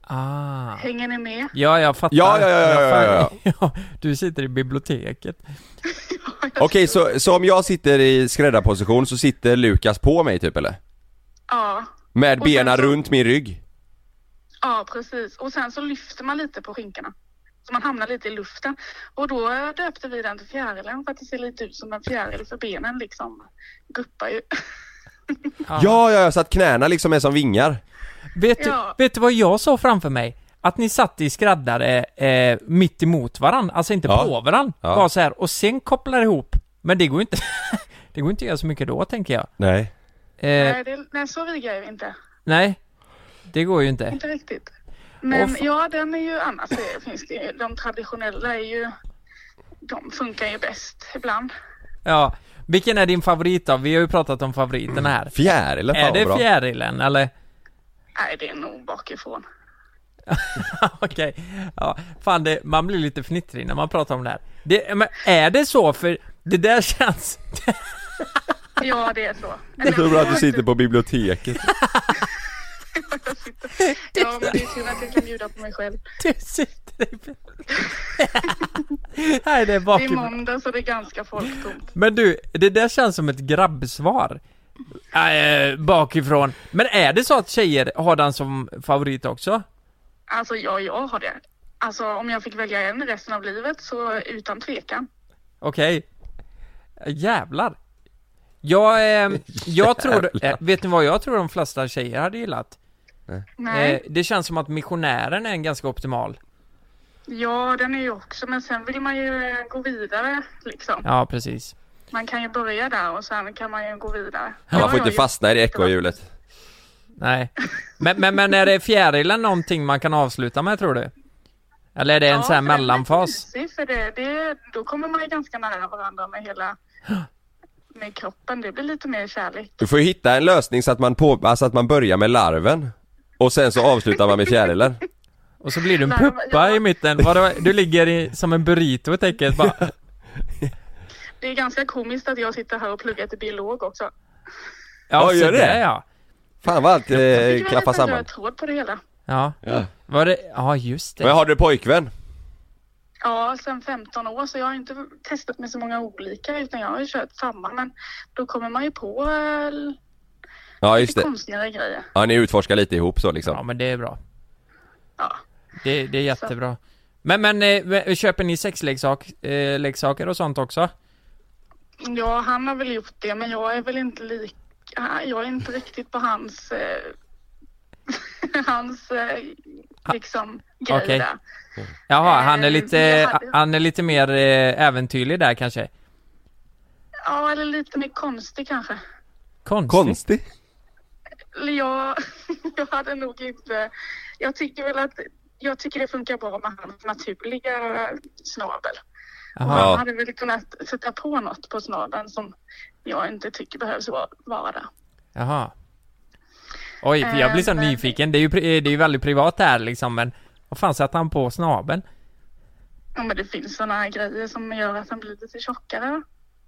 Speaker 3: ah.
Speaker 4: Hänger ni med?
Speaker 3: Ja, jag fattar.
Speaker 1: Ja, ja, ja, ja,
Speaker 3: Jag fa-
Speaker 1: ja,
Speaker 3: Ja, Du sitter i biblioteket.
Speaker 1: Okej så, så om jag sitter i skräddarposition så sitter Lukas på mig typ eller?
Speaker 4: Ja.
Speaker 1: Med
Speaker 4: Och sen
Speaker 1: benen
Speaker 4: så-
Speaker 1: runt min rygg?
Speaker 4: Ja, precis. Och sen så lyfter man lite på skinkorna. Så man hamnar lite i luften. Och då eh, döpte vi den till fjärilen för att det ser lite ut som en fjäril för benen liksom guppar ju.
Speaker 1: Ja, ja, ja, så att knäna liksom är som vingar.
Speaker 3: Vet,
Speaker 4: Ja.
Speaker 3: du, vet du vad jag såg framför mig? Att ni satt i skräddare eh, mitt emot varandra, alltså inte
Speaker 1: Ja.
Speaker 3: på varandra.
Speaker 1: Ja.
Speaker 3: Bara så här, och sen kopplar ihop. Men det går ju inte, det går inte att göra så mycket då tänker jag.
Speaker 1: Nej.
Speaker 3: Eh,
Speaker 4: Nej, det, nej, så viga är vi inte.
Speaker 3: nej, det går ju inte.
Speaker 4: Inte riktigt. Men
Speaker 3: Åh, fan.
Speaker 4: ja, den är ju annars det finns det ju, de traditionella är ju, de funkar ju bäst ibland.
Speaker 3: Ja. Vilken är din favorit då? Vi har ju pratat om favoriten här.
Speaker 1: Fjärilen Mm. fan vad
Speaker 3: Är det
Speaker 1: bra.
Speaker 3: fjärilen eller?
Speaker 4: Nej, det är nog bakifrån.
Speaker 3: Okej, ja, fan det, man blir lite fnittrig när man pratar om det här. Det, men är det så? För det där känns...
Speaker 4: Ja, det är så.
Speaker 1: Så bra att du sitter på biblioteket.
Speaker 4: Ja, men det är synd att jag kan bjuda på mig själv.
Speaker 3: Du sitter i... Nej, det är
Speaker 4: Det är
Speaker 3: bakifrån.
Speaker 4: måndag så det är ganska folktomt.
Speaker 3: Men du, det där känns som ett grabbsvar. Äh, bakifrån. Men är det så att tjejer har den som favorit också?
Speaker 4: Alltså, ja, jag har det. Alltså, om jag fick välja en resten av livet så utan tvekan.
Speaker 3: Okej. Äh, Jävlar. Jag, eh, jag tror, eh, vet ni vad jag tror de flesta tjejer hade gillat?
Speaker 4: Nej,
Speaker 3: Eh, det känns som att missionären är en ganska optimal.
Speaker 4: ja, den är ju också, men sen vill man ju eh, gå vidare liksom.
Speaker 3: Ja, precis.
Speaker 4: Man kan ju börja där och sen kan man ju gå vidare.
Speaker 1: Ja, Man får inte
Speaker 4: fast.
Speaker 1: fastna i det ekorrhjulet.
Speaker 3: Nej. Men, men, men är det fjärilen någonting man kan avsluta med tror du? Eller är det en sån här
Speaker 4: för den är
Speaker 3: mellanfas?
Speaker 4: mysig, för det, det, då kommer man ju ganska nära varandra med hela med kroppen. Det blir lite mer kärlek.
Speaker 1: Du får ju hitta en lösning så att man, på, alltså att man börjar med larven. Och sen så avslutar man med fjärilen.
Speaker 3: Och så blir du en
Speaker 4: Nej,
Speaker 3: puppa
Speaker 4: men-
Speaker 3: i mitten, Vadå? du ligger i, som en burrito tänker jag bara,
Speaker 4: Det är ganska komiskt att jag sitter här och pluggar till biolog också.
Speaker 3: Ja,
Speaker 1: Ja,
Speaker 3: så
Speaker 1: gör det?
Speaker 3: där, ja.
Speaker 1: Fan vad allt eh, klaffar
Speaker 4: Jag
Speaker 1: samman.
Speaker 4: röd tråd på det hela.
Speaker 3: Ja.
Speaker 1: Ja.
Speaker 3: Var det, ja just det.
Speaker 1: Men har du pojkvän?
Speaker 4: Ja, sen 15 år så jag har inte testat med så många olika utan jag har ju kört samma. Men då kommer man ju på eh,
Speaker 1: Ja just
Speaker 4: lite
Speaker 1: det.
Speaker 4: konstigare grejer.
Speaker 1: Ja ni utforskar lite ihop så
Speaker 3: Ja
Speaker 1: liksom.
Speaker 3: men det är bra.
Speaker 4: Ja.
Speaker 3: Det, det är jättebra. Men, men eh, v- köper ni sexleksaker eh, leksaker och sånt också?
Speaker 4: ja, han har väl gjort det men jag är väl inte lik... ah, Jag är inte riktigt på hans... Eh, hans eh, liksom grej
Speaker 3: okej.
Speaker 4: där.
Speaker 3: Jaha, han är
Speaker 4: Eh,
Speaker 3: lite,
Speaker 4: jag hade-
Speaker 3: han är lite mer eh, äventyrlig där kanske?
Speaker 5: Ja, eller lite mer konstig kanske.
Speaker 3: Konstigt.
Speaker 1: Konstig.
Speaker 5: Eller Jag, jag hade nog inte... Jag tycker väl att... Jag tycker det funkar bra med hans naturliga snabel.
Speaker 3: Jaha.
Speaker 1: Ja.
Speaker 5: Han hade väl kunnat sätta på något på snabeln som jag inte tycker behövs vara- vara där.
Speaker 3: Jaha. Oj, för jag blir så
Speaker 5: Eh, men-
Speaker 3: nyfiken. Det är ju, pri- eh, det är ju väldigt privat det här liksom, men vad fan satte han på snabeln?
Speaker 5: Ja, men det finns sådana här grejer som gör att han blir lite tjockare.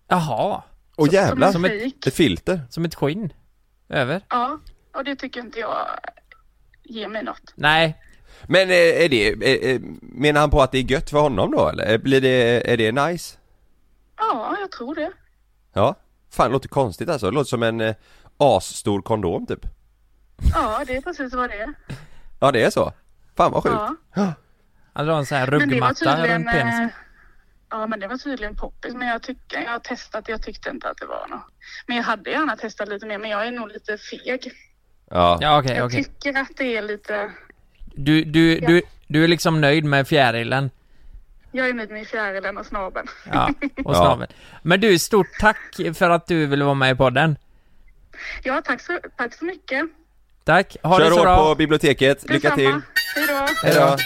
Speaker 3: Jaha,
Speaker 1: Åh jävlar.
Speaker 5: Som
Speaker 3: Som ett-
Speaker 5: en fejk.
Speaker 1: Ett filter.
Speaker 3: som ett skinn? Över?
Speaker 5: Ja, och det tycker inte jag ger mig något.
Speaker 3: Nej,
Speaker 1: Men eh, är det, eh, eh, menar han på att det är gött för honom då eller? Eh, Blir det, är det nice?
Speaker 5: Ja, jag tror det.
Speaker 1: Ja. Fan, det låter konstigt alltså. Det låter som en eh, asstor kondom typ.
Speaker 5: Ja, det är precis vad det är.
Speaker 1: Ja, det är så. Fan vad sjukt.
Speaker 5: Ja.
Speaker 3: han drar en sån här
Speaker 5: Men det var
Speaker 3: ruggmatta
Speaker 5: tydligen...
Speaker 3: runt penisen.
Speaker 5: eh, Ja, men det var tydligen poppis. Men jag, tycker, jag har testat, jag tyckte inte att det var något. Men jag hade gärna testat lite mer, men jag är nog lite feg.
Speaker 1: Ja.
Speaker 3: Ja okej,
Speaker 5: Jag
Speaker 3: okej.
Speaker 5: tycker att det är lite...
Speaker 3: Du, du, du, du är liksom nöjd med fjärilen?
Speaker 5: Jag är nöjd med fjärilen och snabeln.
Speaker 3: Ja,
Speaker 1: Ja.
Speaker 3: och snabeln. Men du, stort tack för att du ville vara med i podden.
Speaker 5: Ja, tack så, tack så mycket.
Speaker 3: Tack, ha
Speaker 1: Kör
Speaker 3: det så
Speaker 1: hårt
Speaker 3: bra.
Speaker 1: på biblioteket. Lycka till.
Speaker 5: Detsamma. Hej då.
Speaker 1: Hej då.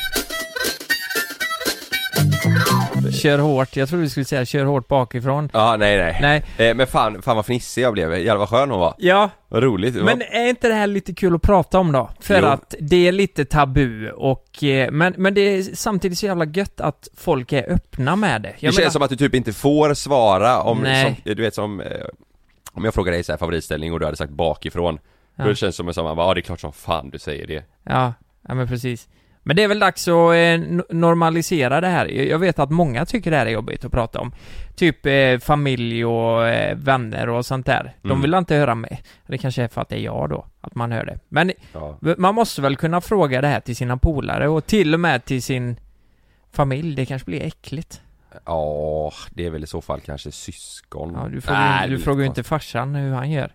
Speaker 3: Kör hårt, jag trodde vi skulle säga kör hårt bakifrån.
Speaker 1: Ja, nej nej.
Speaker 3: Nej.
Speaker 1: Eh, men fan, fan vad fnissig jag blev. Jävlar vad skön hon var.
Speaker 3: Ja,
Speaker 1: Vad roligt. Det var-
Speaker 3: Men är inte det här lite kul att prata om då? För
Speaker 1: Jo.
Speaker 3: att det är lite tabu och, eh, men, men det är samtidigt så jävla gött att folk är öppna med det. Jag
Speaker 1: det känns som att du typ inte får svara om, som,
Speaker 3: Nej.
Speaker 1: eh, du vet som, eh, om jag frågar dig så här favoritställning och du hade sagt bakifrån. Då
Speaker 3: Ja.
Speaker 1: känns det som att man bara, ja det är klart som fan du säger det.
Speaker 3: Ja, ja men precis. Men det är väl dags att eh, n- normalisera det här. Jag jag vet att många tycker det här är jobbigt att prata om. Typ eh, familj och eh, vänner och sånt där. De
Speaker 1: Mm.
Speaker 3: vill inte höra mig. Det kanske är för att det är jag då, att man hör det. Men
Speaker 1: Ja.
Speaker 3: v- man måste väl kunna fråga det här till sina polare och till och med till sin familj. Det kanske blir äckligt.
Speaker 1: Ja, det är väl i så fall kanske syskon.
Speaker 3: Ja, du frågar,
Speaker 1: Nej,
Speaker 3: ju-
Speaker 1: det
Speaker 3: du
Speaker 1: blir
Speaker 3: frågar ju
Speaker 1: lite
Speaker 3: inte farsan hur han gör.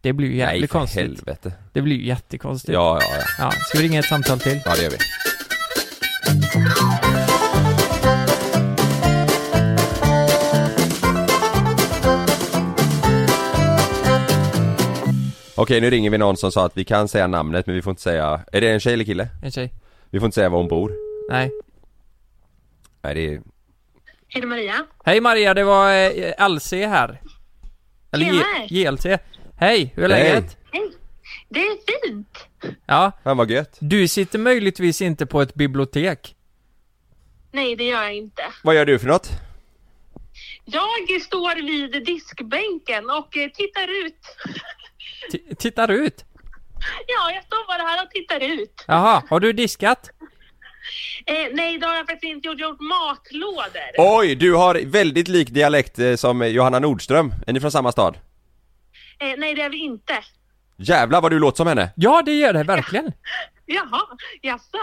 Speaker 3: Det blir ju
Speaker 1: konstigt.
Speaker 3: jävligt
Speaker 1: Nej, för
Speaker 3: konstigt.
Speaker 1: helvete.
Speaker 3: Det blir ju jättekonstigt.
Speaker 1: Ja, ja, ja.
Speaker 3: ja. Ska vi ringa ett samtal till?
Speaker 1: Ja, det gör vi. Okej, nu ringer vi någon som sa att vi kan säga namnet men vi får inte säga... Är det en tjej eller kille?
Speaker 3: En tjej?
Speaker 1: Vi får inte säga var hon bor.
Speaker 3: Nej.
Speaker 1: Nej, det är...
Speaker 5: Är det Maria?
Speaker 3: Hej Maria, det var eh, LC här. Eller
Speaker 5: Tjena.
Speaker 3: J- JLC. Hej, hur är
Speaker 1: Hej.
Speaker 3: läget?
Speaker 5: Det är fint.
Speaker 3: Ja,
Speaker 1: Fan vad gött.
Speaker 3: du sitter möjligtvis inte på ett bibliotek.
Speaker 4: Nej, det gör jag inte.
Speaker 1: Vad gör du för något?
Speaker 4: Jag står vid diskbänken och eh, tittar ut.
Speaker 3: T- tittar ut.
Speaker 4: Ja, jag står bara här och tittar ut.
Speaker 3: Jaha, har du diskat?
Speaker 4: Eh, nej, det har jag faktiskt inte gjort. Jag har gjort matlådor.
Speaker 1: Oj, du har väldigt lik dialekt eh, som eh, Johanna Nordström. Är ni från samma stad?
Speaker 4: Eh, nej, det är vi inte.
Speaker 1: Jävlar vad du låter som henne!
Speaker 3: Ja, det gör det verkligen.
Speaker 4: Jaha, jaså?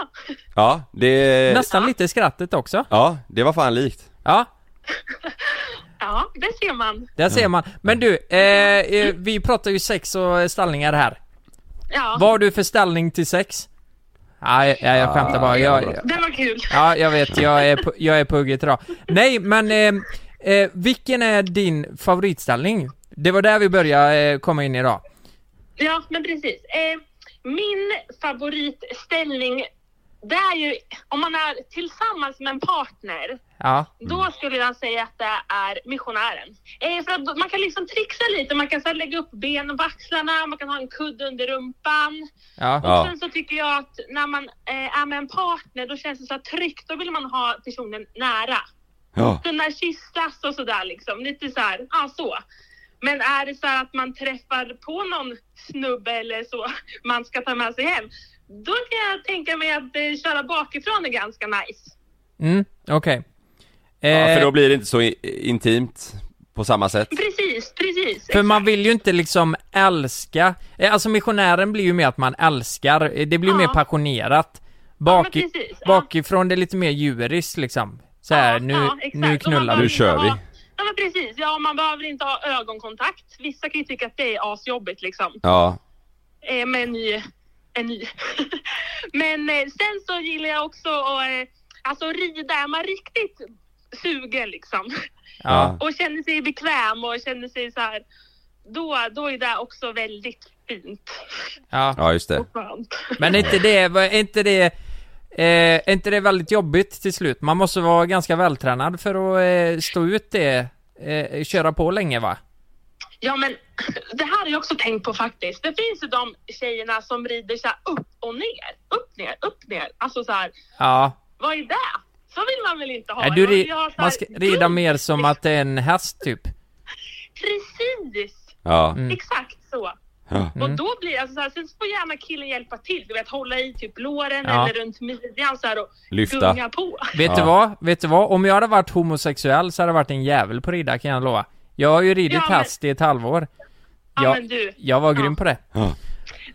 Speaker 1: Ja, det...
Speaker 3: Nästan lite skrattet också.
Speaker 1: Ja, det var fan likt.
Speaker 3: Ja,
Speaker 4: Ja, det ser man.
Speaker 3: där ser man. Men du, eh, eh, vi pratar ju sex och ställningar här.
Speaker 4: Ja,
Speaker 3: Vad har du för ställning till sex? Nej, jag, jag skämtar bara. Jag,
Speaker 4: det var kul.
Speaker 3: ja, jag vet. Jag är, på, jag är på hugget idag. Nej, men eh, eh, vilken är din favoritställning? Det var där vi började eh, komma in idag.
Speaker 4: Ja, men precis. Eh, min favoritställning, det är ju om man är tillsammans med en partner.
Speaker 3: Ja,
Speaker 4: Då skulle jag säga att det är missionären. Eh, för att då- man kan liksom trixa lite, man kan så här lägga upp benen på axlarna, man kan ha en kudde under rumpan.
Speaker 3: ja,
Speaker 1: Ja.
Speaker 4: Sen så tycker jag att när man eh, är med en partner då känns det så här tryggt, då vill man ha personen nära.
Speaker 1: Ja.
Speaker 4: Kunna kyssas och sådär liksom, lite så här, ja så. Men är det så här att man träffar på någon snubbe eller så man ska ta med sig hem, då kan jag tänka mig att eh, köra bakifrån är ganska nice.
Speaker 3: mm, okej.
Speaker 1: Ja,
Speaker 3: Eh,
Speaker 1: för då blir det inte så i- intimt på samma sätt.
Speaker 4: Precis, precis.
Speaker 3: För man vill ju inte liksom älska, eh, alltså missionären blir ju mer att man älskar, Eh, det blir
Speaker 4: Ja.
Speaker 3: mer passionerat. Bak,
Speaker 4: men precis, ja.
Speaker 3: Bakifrån det är lite mer djuriskt liksom. Så här,
Speaker 4: Ja,
Speaker 3: nu,
Speaker 4: ja, exakt.
Speaker 3: nu
Speaker 4: Och man
Speaker 3: knullar
Speaker 4: behöver
Speaker 1: Nu
Speaker 3: vi.
Speaker 4: inte
Speaker 1: kör vi.
Speaker 4: Ha, ja men precis, ja man behöver inte ha ögonkontakt. Vissa kan ju tycka att det är asjobbigt liksom.
Speaker 1: Ja.
Speaker 4: Eh, med en ny, en ny. men eh, sen så gillar jag också att eh, alltså rida. Är man riktigt suger liksom.
Speaker 1: Ja.
Speaker 4: Och känner sig bekväm och känner sig så här. Då, då är det också väldigt fint
Speaker 3: ja.
Speaker 1: Ja, just det.
Speaker 4: och skönt.
Speaker 3: Men är inte det, vad- är inte det, eh, är inte det väldigt jobbigt till slut? Man måste vara ganska vältränad för att eh, stå ut det, eh, köra på länge va?
Speaker 4: Ja, men det här har jag också tänkt på faktiskt. Det finns ju de tjejerna som rider så här upp och ner, upp, ner, upp, ner. Alltså så här,
Speaker 3: Ja.
Speaker 4: vad är det? Så vill man väl inte ha?
Speaker 3: Nej, du,
Speaker 4: Man vill
Speaker 3: ri-
Speaker 4: ju ha så här
Speaker 3: man ska rida
Speaker 4: guld.
Speaker 3: mer som att det är en häst typ.
Speaker 4: Precis,
Speaker 1: Ja.
Speaker 3: Mm.
Speaker 4: exakt så.
Speaker 1: Ja.
Speaker 4: Och då blir alltså så här, sen så får gärna killen hjälpa till. Du vet, hålla i typ låren
Speaker 3: Ja.
Speaker 4: eller runt midjan så här och
Speaker 1: Lyfta.
Speaker 4: gunga på.
Speaker 3: Vet
Speaker 1: Ja.
Speaker 3: du vad? Vet du vad? Om jag hade varit homosexuell så hade jag varit en jävel på att rida kan jag lova. Jag har ju ridit
Speaker 4: Ja, men-
Speaker 3: häst i ett halvår.
Speaker 4: Ja,
Speaker 3: Jag,
Speaker 4: men du.
Speaker 3: jag var
Speaker 4: Ja.
Speaker 3: grym på det.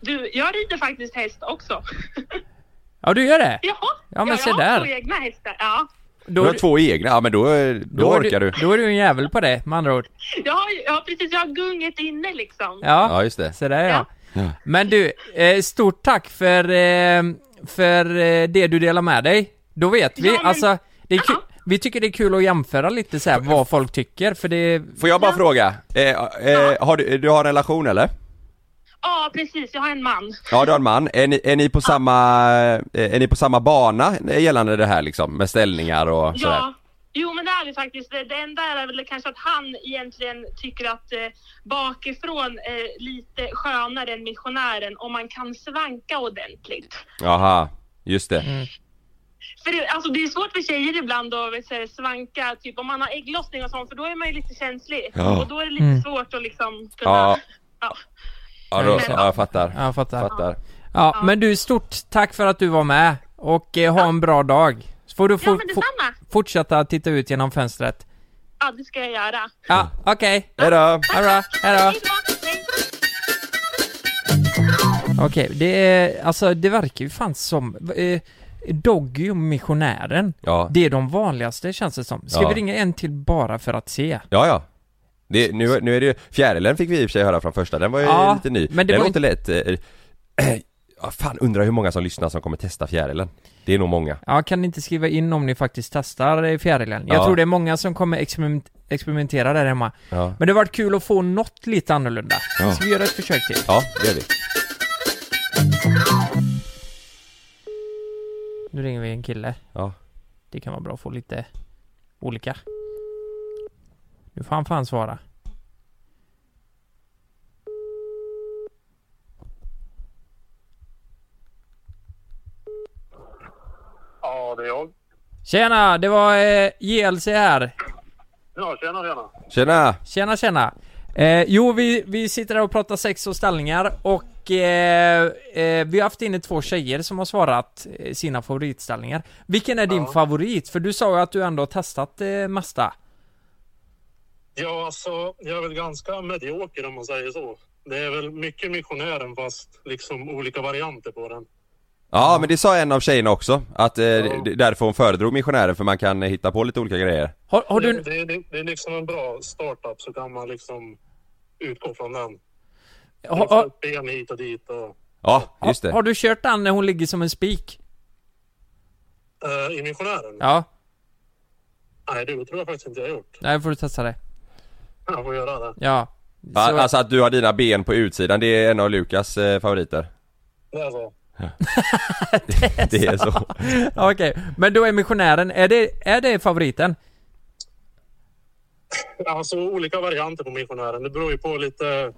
Speaker 4: Du, jag rider faktiskt häst också.
Speaker 3: Ja, du gör det?
Speaker 4: Jaha,
Speaker 3: Ja, men
Speaker 4: jag
Speaker 3: se
Speaker 4: har
Speaker 3: där.
Speaker 4: två egna hästar. Ja.
Speaker 1: Du
Speaker 3: Då,
Speaker 1: har två egna, ja men då, då,
Speaker 3: då är
Speaker 1: orkar du.
Speaker 3: Då är du en jävel på det, med andra ord.
Speaker 4: Jag, har, ju- jag har precis, jag har gunget inne liksom.
Speaker 3: Ja,
Speaker 1: Ja, just det.
Speaker 3: så där ja.
Speaker 4: Ja.
Speaker 1: Ja.
Speaker 3: Men du, eh, stort tack för, eh, för eh, det du delar med dig. Då vet vi,
Speaker 4: Ja, men-
Speaker 3: alltså, det är
Speaker 4: Ja.
Speaker 3: kul, vi tycker det är kul att jämföra lite så här vad folk tycker, för det,
Speaker 1: Får jag bara fråga? Eh, eh, har du, du har en relation eller?
Speaker 4: Ja, precis. Jag har en man.
Speaker 1: Ja du har en man, är ni, är ni på samma, eh, är ni på samma bana gällande det här liksom? Med ställningar och sådär?
Speaker 4: Ja. Jo, men det är vi faktiskt. Det det enda är väl kanske att han egentligen tycker att eh, bakifrån eh, lite skönare än missionären om man kan svanka ordentligt.
Speaker 1: Jaha, just det.
Speaker 3: Mm.
Speaker 4: För det, alltså, det är svårt för tjejer ibland att vet, så här, svanka, typ om man har ägglossning och sånt, för då är man ju lite känslig.
Speaker 1: Ja.
Speaker 4: Och då är det lite
Speaker 3: Mm.
Speaker 4: svårt att liksom kunna...
Speaker 1: Ja.
Speaker 4: Ja.
Speaker 1: Ja, då,
Speaker 3: Nej,
Speaker 1: ja jag fattar.
Speaker 3: ja, jag fattar.
Speaker 1: fattar.
Speaker 3: Ja, men du, stort tack för att du var med, och eh, ha en bra dag. Så får du
Speaker 4: ja,
Speaker 3: for,
Speaker 4: men
Speaker 3: for,
Speaker 4: detsamma.
Speaker 3: fortsätta titta ut genom fönstret.
Speaker 4: Ja, det ska jag göra.
Speaker 3: Ja, okej.
Speaker 1: Hejdå!
Speaker 3: Ha det bra, hejdå.
Speaker 4: Hej då. Hej.
Speaker 3: Okej, det är, alltså det verkar ju fan som, eh, Doggy och missionären,
Speaker 1: Ja.
Speaker 3: det är de vanligaste känns det som. Ska
Speaker 1: Ja.
Speaker 3: vi ringa en till bara för att se?
Speaker 1: Ja, ja. Det, nu, nu är det ju, fjärilen fick vi i och för sig höra från första, den var ju
Speaker 3: Ja,
Speaker 1: lite ny.
Speaker 3: men det
Speaker 1: den
Speaker 3: var
Speaker 1: var inte lätt. eh, eh, ja, fan, undrar hur många som lyssnar som kommer testa fjärilen. Det är nog många.
Speaker 3: Ja, kan ni inte skriva in om ni faktiskt testar eh, fjärilen? Jag
Speaker 1: Ja.
Speaker 3: tror det är många som kommer experiment experimentera där hemma.
Speaker 1: Ja,
Speaker 3: Men det har varit kul att få något lite annorlunda.
Speaker 1: Ja.
Speaker 3: Ska vi göra ett försök till?
Speaker 1: ja det gör vi.
Speaker 3: Nu ringer vi en kille.
Speaker 1: Ja.
Speaker 3: Det kan vara bra att få lite olika. Nu får han fan svara.
Speaker 6: Ja, det är jag.
Speaker 3: Tjena, det var eh, JLC här.
Speaker 6: Ja, tjena, tjena.
Speaker 1: Tjena!
Speaker 3: Tjena tjena! Eh, jo, vi, vi sitter här och pratar sex och ställningar och eh, eh, vi har haft inne två tjejer som har svarat eh, sina favoritställningar. Vilken är din favorit? För du sa ju att du ändå har testat eh, mesta.
Speaker 6: Ja, alltså, jag är väl ganska medioker om man säger så. Det är väl mycket missionären fast liksom olika varianter på den.
Speaker 1: Ja, men det sa en av tjejerna också, att eh, d- därför hon föredrog missionären för man kan eh, hitta på lite olika grejer.
Speaker 3: Har, har
Speaker 6: Det,
Speaker 3: du...
Speaker 6: det, det, det är liksom en bra startup så kan man liksom utgå från den.
Speaker 3: Har,
Speaker 6: Liksom
Speaker 3: har,
Speaker 6: ett ben hit och dit och...
Speaker 1: Ja, just det.
Speaker 3: har du kört den när hon ligger som en spik?
Speaker 6: Eh, I missionären?
Speaker 3: Ja,
Speaker 6: Nej, det tror jag faktiskt inte jag har gjort.
Speaker 3: nej får du testa det.
Speaker 6: Jag får göra det.
Speaker 3: Ja. Så,
Speaker 1: Ja, Alltså att du har dina ben på utsidan, det är en av Lukas eh, favoriter.
Speaker 6: Det är så.
Speaker 1: Det är så.
Speaker 3: Okej, men då är missionären, är det, är det favoriten?
Speaker 6: Alltså, olika varianter på missionären. Det beror ju på lite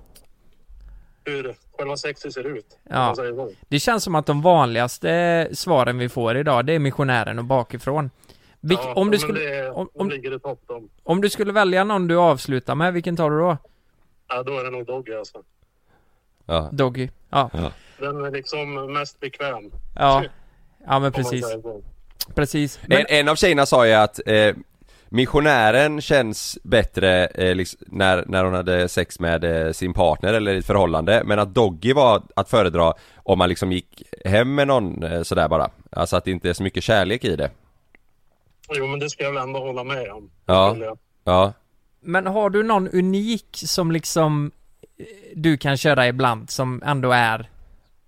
Speaker 6: hur själva sexet ser ut. om
Speaker 3: Ja.
Speaker 6: Man säger så.
Speaker 3: Det känns som att de vanligaste svaren vi får idag, det är missionären och bakifrån. Vilk,
Speaker 6: Ja,
Speaker 3: om, du
Speaker 6: men
Speaker 3: skulle,
Speaker 6: Det,
Speaker 3: om,
Speaker 6: om,
Speaker 3: om,
Speaker 6: ligger i topp de.
Speaker 3: om du skulle välja någon du avslutar med, vilken tar du då?
Speaker 6: Ja, då är det nog Doggy alltså.
Speaker 1: Ja.
Speaker 3: Doggy? Ja.
Speaker 6: Den är liksom mest bekväm.
Speaker 3: Ja, ja men
Speaker 6: om man
Speaker 3: precis.
Speaker 6: säger så.
Speaker 3: Precis. Men,
Speaker 1: En, en av tjejerna sa ju att eh, missionären känns bättre eh, liksom, när, när hon hade sex med eh, sin partner eller i ett förhållande, men att Doggy var att föredra om man liksom gick hem med någon eh, sådär bara. Alltså att det inte är så mycket kärlek i det.
Speaker 6: Jo, men det ska jag väl ändå hålla med om.
Speaker 1: Ja.
Speaker 6: Skulle jag.
Speaker 1: Ja.
Speaker 3: men har du någon unik som liksom eh, du kan köra ibland som ändå är,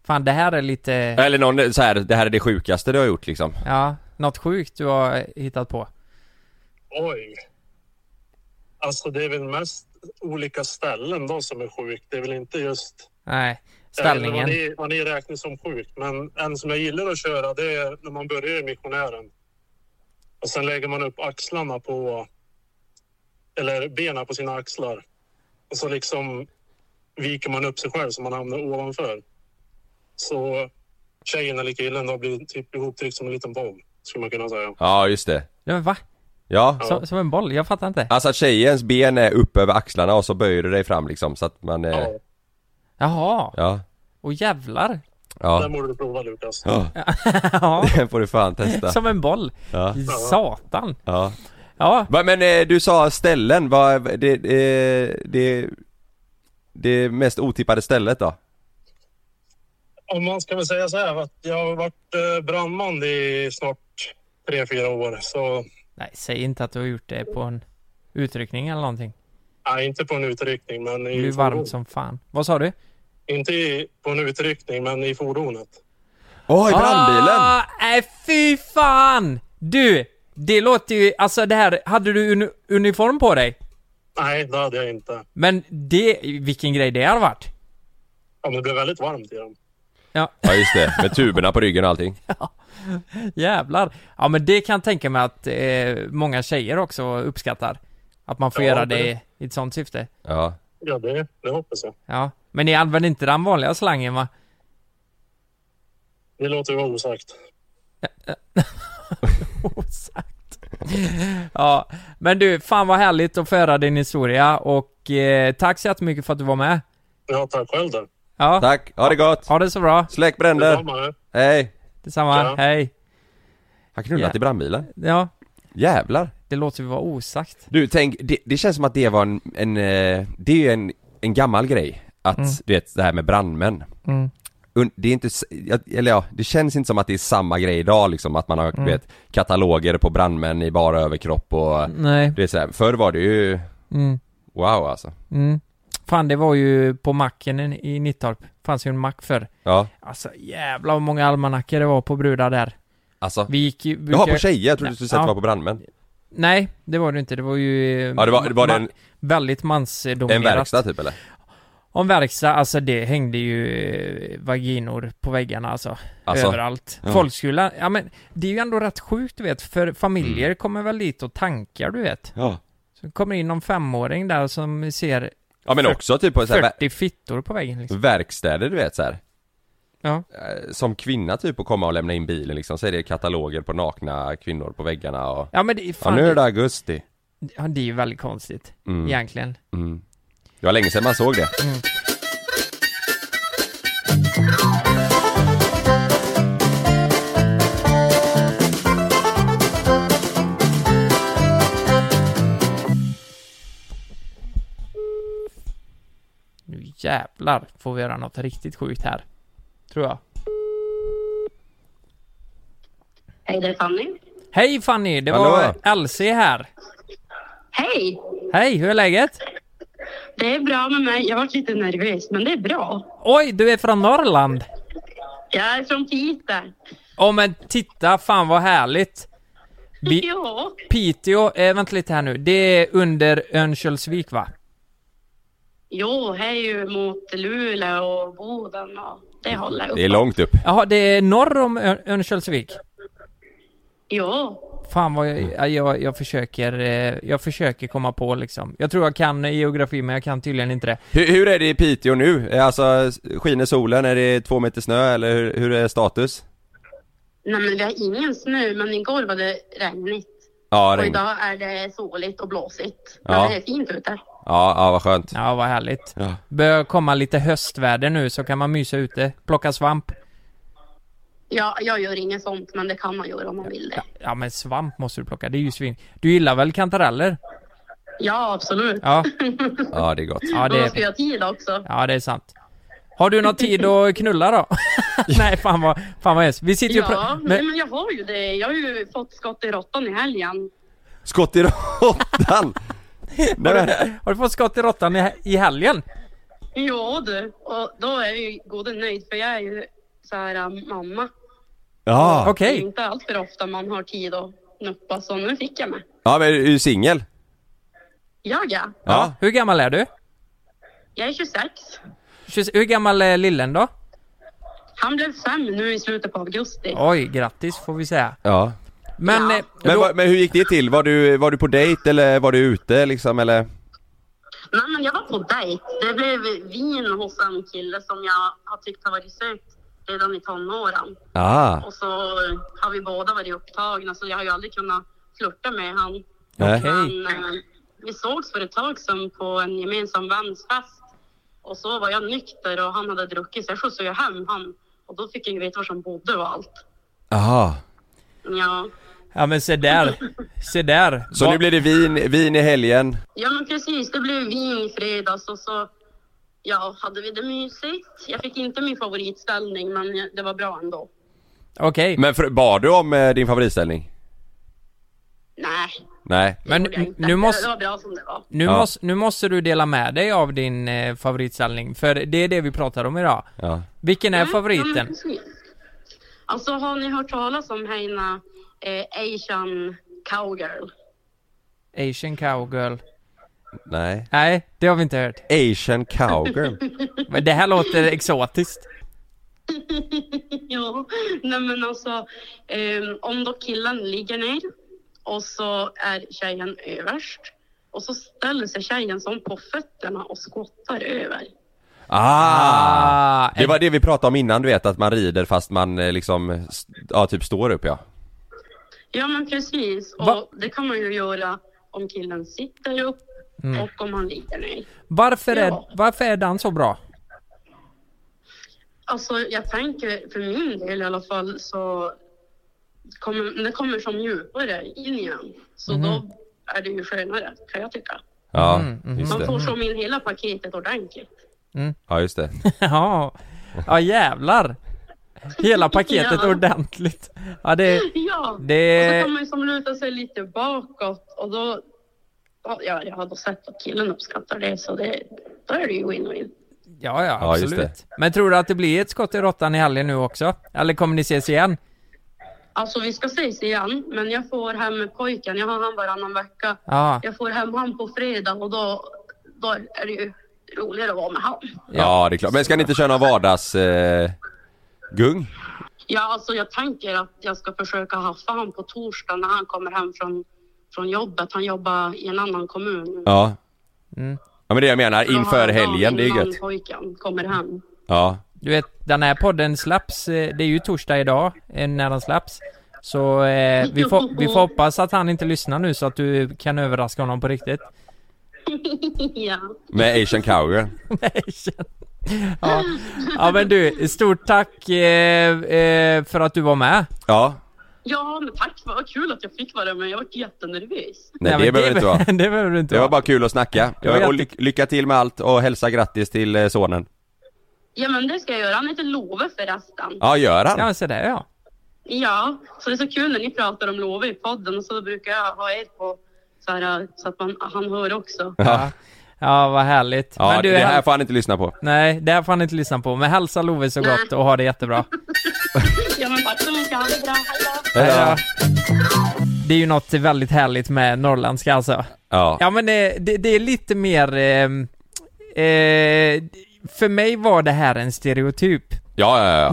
Speaker 3: fan det här är lite,
Speaker 1: Eller någon eh, så här, det här är det sjukaste du har gjort liksom.
Speaker 3: ja, något sjukt du har hittat på?
Speaker 6: Oj. Alltså det är väl mest olika ställen då som är sjukt. Det är väl inte just...
Speaker 3: Nej,
Speaker 6: jag vet inte
Speaker 3: ställningen.
Speaker 6: Vad ni, vad ni räknar som sjukt. Men en som jag gillar att köra det är när man börjar i missionären. Och sen lägger man upp axlarna på... Eller benen på sina axlar. Och så liksom viker man upp sig själv så man hamnar ovanför. Så tjejen eller killen då blir typ ihoptryckt som en liten boll. Skulle man kunna säga.
Speaker 1: Ja, just det.
Speaker 3: Ja, men va?
Speaker 1: Ja.
Speaker 3: Som, som en boll? Jag fattar inte.
Speaker 1: Alltså att tjejens ben är upp över axlarna och så böjer du dig fram liksom så att man... Eh,
Speaker 6: Ja,
Speaker 3: Jaha,
Speaker 1: ja.
Speaker 3: och jävlar.
Speaker 1: Ja.
Speaker 6: den borde du prova Lukas.
Speaker 1: Ja.
Speaker 3: Ja,
Speaker 1: Den får du fan testa.
Speaker 3: som en boll.
Speaker 1: Ja.
Speaker 3: Satan.
Speaker 1: Ja.
Speaker 3: Ja,
Speaker 1: Va, Men eh, du sa ställen, vad... Det, eh, det... Det mest otippade stället då?
Speaker 6: Om man ska väl säga så här att jag har varit eh, brandman i snart tre, fyra år. Så
Speaker 3: nej säg inte att du har gjort det på en utryckning eller någonting.
Speaker 6: nej, inte på en utryckning men
Speaker 3: Det blir
Speaker 6: i
Speaker 3: ju varmt som fan. Vad sa du?
Speaker 6: Inte i, på en utryckning men i fordonet.
Speaker 1: Åh, i brandbilen!
Speaker 3: Ah, nej fy fan! Du! Det låter ju, alltså det här, hade du uni- uniform på dig?
Speaker 6: Nej, det hade jag inte.
Speaker 3: Men det, vilken grej det har varit.
Speaker 6: Ja, men det blev väldigt varmt i dem.
Speaker 3: Ja,
Speaker 1: Ja, just det. Med tuberna på ryggen och allting.
Speaker 3: jävlar. Ja men det kan jag tänka mig att eh, många tjejer också uppskattar. Att man får
Speaker 6: Ja,
Speaker 3: göra
Speaker 6: det-
Speaker 3: det i ett sånt syfte.
Speaker 1: Ja.
Speaker 6: Ja, det, det hoppas jag.
Speaker 3: Ja. Men ni använder inte den vanliga slangen va?
Speaker 6: Det låter ju vara osagt.
Speaker 3: Osagt. Ja, men du, fan vad härligt att få höra din historia och eh, tack så jättemycket för att du var med.
Speaker 6: Ja, tack själv då.
Speaker 3: Ja,
Speaker 1: Tack, ha det gott!
Speaker 3: ha det så bra.
Speaker 1: Släck bränder!
Speaker 6: Detsamma, hej.
Speaker 1: Hej!
Speaker 3: Detsamma,
Speaker 6: Ja.
Speaker 3: hej.
Speaker 1: Han knullat
Speaker 3: Ja.
Speaker 1: i brandbilen.
Speaker 3: Ja,
Speaker 1: Jävlar!
Speaker 3: det låter ju vara osagt.
Speaker 1: Du, tänk, det, det känns som att det var en, en eh, det är ju en, en gammal grej. Att, du vet, det här med brandmän.
Speaker 3: Mm.
Speaker 1: Und- Det är inte, s- jag- eller ja, det känns inte som att det är samma grej idag liksom, att man har,
Speaker 3: Mm.
Speaker 1: du vet, kataloger på brandmän i bara överkropp och
Speaker 3: Nej.
Speaker 1: det är så här, förr var det ju,
Speaker 3: Mm.
Speaker 1: wow alltså.
Speaker 3: Mm. Fan, det var ju på macken i- i Nittorp. Fanns ju en mack förr.
Speaker 1: Ja,
Speaker 3: Alltså jävlar vad många almanackor det var på brudar där.
Speaker 1: alltså.
Speaker 3: Vi gick ju...
Speaker 1: Jaha,
Speaker 3: brukar-
Speaker 1: på tjejer, jag trodde du skulle säga att det
Speaker 3: Ja.
Speaker 1: var på brandmän.
Speaker 3: Nej, det var det inte. Det var ju...
Speaker 1: Ja, det var- det var det en-
Speaker 3: Väldigt mansdominerat.
Speaker 1: En verkstad typ eller?
Speaker 3: Om verkstad, alltså det hängde ju eh, vaginor på väggarna alltså.
Speaker 1: Alltså,
Speaker 3: överallt.
Speaker 1: ja.
Speaker 3: Folk skulle, ja men det är ju ändå rätt sjukt du vet, för familjer
Speaker 1: Mm.
Speaker 3: kommer väl dit och tankar du vet.
Speaker 1: Ja.
Speaker 3: Så kommer in någon femåring där som ser
Speaker 1: Ja men också typ på så här,
Speaker 3: 40 fittor på väggen liksom.
Speaker 1: ver- verkstäder du vet så här.
Speaker 3: Ja.
Speaker 1: Eh, Som kvinna typ att komma och lämna in bilen liksom, så är det kataloger på nakna kvinnor på väggarna och
Speaker 3: Ja men det är
Speaker 1: Ja
Speaker 3: fan,
Speaker 1: nu är det augusti.
Speaker 3: ja, det är ju väldigt konstigt.
Speaker 1: Mm.
Speaker 3: Egentligen.
Speaker 1: Mm. Det var länge sedan man såg det.
Speaker 3: Nu jävlar får vi göra något riktigt sjukt här. Tror jag.
Speaker 7: Hej, det är Fanny.
Speaker 3: Hej Fanny, det
Speaker 1: Hallå.
Speaker 3: var Elsie här.
Speaker 7: Hej!
Speaker 3: Hej, hur är läget?
Speaker 7: Det är bra med mig. Jag har varit lite nervös, men det är bra.
Speaker 3: Oj, du är från Norrland.
Speaker 7: Jag är från Piteå.
Speaker 3: Åh men titta, fan vad härligt. Vi-
Speaker 7: Ja,
Speaker 3: Piteå, eh, vänta lite här nu, det är under Örnsköldsvik va?
Speaker 7: jo, här är ju mot Luleå och Boden och
Speaker 3: Mm.
Speaker 7: det håller upp.
Speaker 1: Det är långt upp.
Speaker 3: Jaha, det är norr om Ör- Örnsköldsvik?
Speaker 7: Ja,
Speaker 3: Fan vad
Speaker 1: Mm.
Speaker 3: jag, ja, jag, jag försöker, eh, jag försöker komma på liksom. Jag tror jag kan eh, geografi men jag kan tydligen inte det.
Speaker 1: Hur, hur är det i Piteå nu? Eh, Alltså, skiner solen? Är det två meter snö eller hur, hur är status?
Speaker 7: nej men vi har ingen snö, men igår var det regnigt.
Speaker 1: Ja,
Speaker 7: Och
Speaker 1: regn. Ja,
Speaker 7: idag är det soligt och blåsigt. Men
Speaker 1: Ja.
Speaker 7: det är fint ute.
Speaker 1: ja, vad skönt.
Speaker 3: Ja, vad härligt.
Speaker 1: Ja.
Speaker 3: Börjar komma lite höstväder nu så kan man mysa ute, plocka svamp.
Speaker 7: Ja, jag gör inget sånt, men det kan man göra om man vill det.
Speaker 3: Ja men svamp måste du plocka, det är ju svin. Du gillar väl kantareller?
Speaker 7: Ja, absolut.
Speaker 3: Ja,
Speaker 1: Ja, det är gott.
Speaker 3: ja
Speaker 7: Men
Speaker 3: det
Speaker 7: man ska
Speaker 3: är,
Speaker 7: ju ha tid också.
Speaker 3: ja, det är sant. Har du någon tid att knulla då? Nej fan vad, fan vad hemskt. Vi sitter ju och
Speaker 7: Ja,
Speaker 3: pra-
Speaker 7: nej, men jag har ju det. Jag har ju fått skott i råttan i helgen.
Speaker 1: Skott i råttan! Nej, men,
Speaker 3: Har du fått skott i råttan i, i helgen?
Speaker 7: Ja du, och då är jag ju gode nöjd för jag är ju så här äh, mamma.
Speaker 1: ja,
Speaker 3: Okej.
Speaker 7: Det är inte allt för ofta man har tid att nuppa så nu fick jag mig.
Speaker 1: Ja men är du singel?
Speaker 7: Jag ja.
Speaker 1: Ja.
Speaker 3: Hur gammal är du?
Speaker 7: Jag är 26.
Speaker 3: 20 Hur gammal är lillen då?
Speaker 7: Han blev fem nu i slutet på augusti.
Speaker 3: Oj, grattis får vi säga.
Speaker 1: Ja.
Speaker 3: Men, eh,
Speaker 1: Men,
Speaker 3: då,
Speaker 1: vad- men hur gick det till? Var du, var du på dejt eller var du ute liksom eller?
Speaker 7: Nej, men jag var på dejt. Det blev vin hos en kille som jag har tyckt har varit söt redan i tonåren.
Speaker 1: Ah,
Speaker 7: Och så har vi båda varit upptagna så jag har ju aldrig kunnat flirta med han.
Speaker 1: nej.
Speaker 7: Men eh, vi sågs för ett tag sedan på en gemensam vänsfest. Och så var jag nykter och han hade druckit så jag skjutsade ju hem han. Och då fick jag ju veta var som bodde och allt.
Speaker 1: Ah.
Speaker 7: Ja,
Speaker 3: ja men se där. Se där.
Speaker 1: Så
Speaker 3: Va-
Speaker 1: nu blir det vin, vin i helgen?
Speaker 7: ja men precis. Det blev vin i fredags och så ja, hade vi det mysigt. Jag fick inte min favoritställning men det var bra ändå.
Speaker 3: Okej.
Speaker 1: Men för, bad du om eh, din favoritställning?
Speaker 7: Nej,
Speaker 1: Nej.
Speaker 3: Men
Speaker 7: det gjorde jag inte.
Speaker 3: nu måste...
Speaker 7: Det var bra som det var.
Speaker 3: Nu,
Speaker 1: Ja.
Speaker 3: måste, nu måste du dela med dig av din eh, favoritställning, för det är det vi pratar om idag.
Speaker 1: Ja.
Speaker 3: Vilken är
Speaker 7: Mm, ja, men
Speaker 3: favoriten?
Speaker 7: precis. Alltså har ni hört talas om Heina eh, Asian Cowgirl?
Speaker 3: Asian cowgirl?
Speaker 1: Nej.
Speaker 3: Nej, det har vi inte hört.
Speaker 1: Asian cowgirl?
Speaker 3: Men det här låter exotiskt.
Speaker 7: ja, nej men alltså ehm, om då killen ligger ner och så är tjejen överst och så ställer sig tjejen som på fötterna och skottar över.
Speaker 1: Ah!
Speaker 3: Ah,
Speaker 1: Det
Speaker 3: en-
Speaker 1: var det vi pratade om innan du vet, att man rider fast man eh, liksom, st- ja typ står upp ja.
Speaker 7: Ja men precis och
Speaker 3: Va-
Speaker 7: det kan man ju göra om killen sitter upp
Speaker 1: Mm.
Speaker 7: och om han ligger ner.
Speaker 3: varför,
Speaker 7: Ja.
Speaker 3: är, varför är den så bra?
Speaker 7: Alltså jag tänker för min del i alla fall så kommer det kommer som djupare in igen. Så
Speaker 1: Mhm.
Speaker 7: då är det ju skönare kan jag tycka.
Speaker 1: Ja, just
Speaker 7: Man
Speaker 1: det.
Speaker 7: får som in hela paketet ordentligt.
Speaker 1: Ja, just det.
Speaker 3: ja, ja jävlar. Hela paketet
Speaker 7: Ja.
Speaker 3: ordentligt. Ja, det,
Speaker 7: Ja,
Speaker 3: Det-
Speaker 7: och så kan man ju som luta sig lite bakåt och då ja, jag har då sett att killen uppskattar det så det, då är det ju win-win.
Speaker 3: ja, ja,
Speaker 1: Ja, just
Speaker 3: absolut. Men tror du att det blir ett skott i råttan i helgen nu också? Eller kommer ni ses igen?
Speaker 7: Alltså vi ska ses igen men jag får hem pojken, jag har han varannan vecka.
Speaker 3: Ja,
Speaker 7: Jag får hem han på fredag och då, då är det ju roligare att vara med han.
Speaker 1: Ja, det är klart. Men ska ni inte köra någon vardags... Eh, gung?
Speaker 7: Ja, alltså jag tänker att jag ska försöka haffa han på torsdag när han kommer hem från, från jobbet. Han jobbar i en annan kommun.
Speaker 1: Ja. Mm. Ja men det jag menar, inför
Speaker 7: Dagen
Speaker 1: helgen, det är
Speaker 7: innan
Speaker 1: gött.
Speaker 7: pojken kommer hem.
Speaker 1: Ja.
Speaker 3: Du vet, den här podden släpps, eh, det är ju torsdag idag eh, när den släpps. Så eh, vi, får, vi får hoppas att han inte lyssnar nu så att du kan överraska honom på riktigt.
Speaker 7: ja.
Speaker 1: Med Asian cowgirl.
Speaker 3: Nej, känn- ja. ja men du, stort tack eh, eh, för att du var med.
Speaker 1: Ja.
Speaker 7: ja, men tack. Vad kul att jag fick vara med. Jag var jättenervös.
Speaker 1: Nej,
Speaker 3: men
Speaker 1: det behöver det inte vara.
Speaker 3: det behöver du inte
Speaker 1: Det var
Speaker 3: vara.
Speaker 1: bara kul att snacka.
Speaker 3: Det var
Speaker 1: Och
Speaker 3: jätte-
Speaker 1: ly- lycka till med allt och hälsa grattis till eh, sonen.
Speaker 7: Ja, men det ska jag göra. Han heter Love förresten.
Speaker 1: Ja, gör han?
Speaker 3: Ja, men se där ja.
Speaker 7: Ja, så det är så kul när ni pratar om Love i podden och så brukar jag ha er på så, här, så att man, han hör också.
Speaker 3: Ja, ja vad härligt.
Speaker 1: Ja,
Speaker 3: men du,
Speaker 1: det här
Speaker 3: häl-
Speaker 1: får han inte lyssna på.
Speaker 3: Nej, det här får han inte lyssna på. Men hälsa Love så gott och ha det jättebra.
Speaker 7: Ja, men tack så mycket. Ha det bra. Hej då.
Speaker 1: Ja.
Speaker 3: Eh, Det är ju något väldigt härligt med norrländska alltså.
Speaker 1: Ja.
Speaker 3: Ja men eh, det, det är lite mer... ehm, eh, för mig var det här en stereotyp.
Speaker 1: Ja, ja, ja.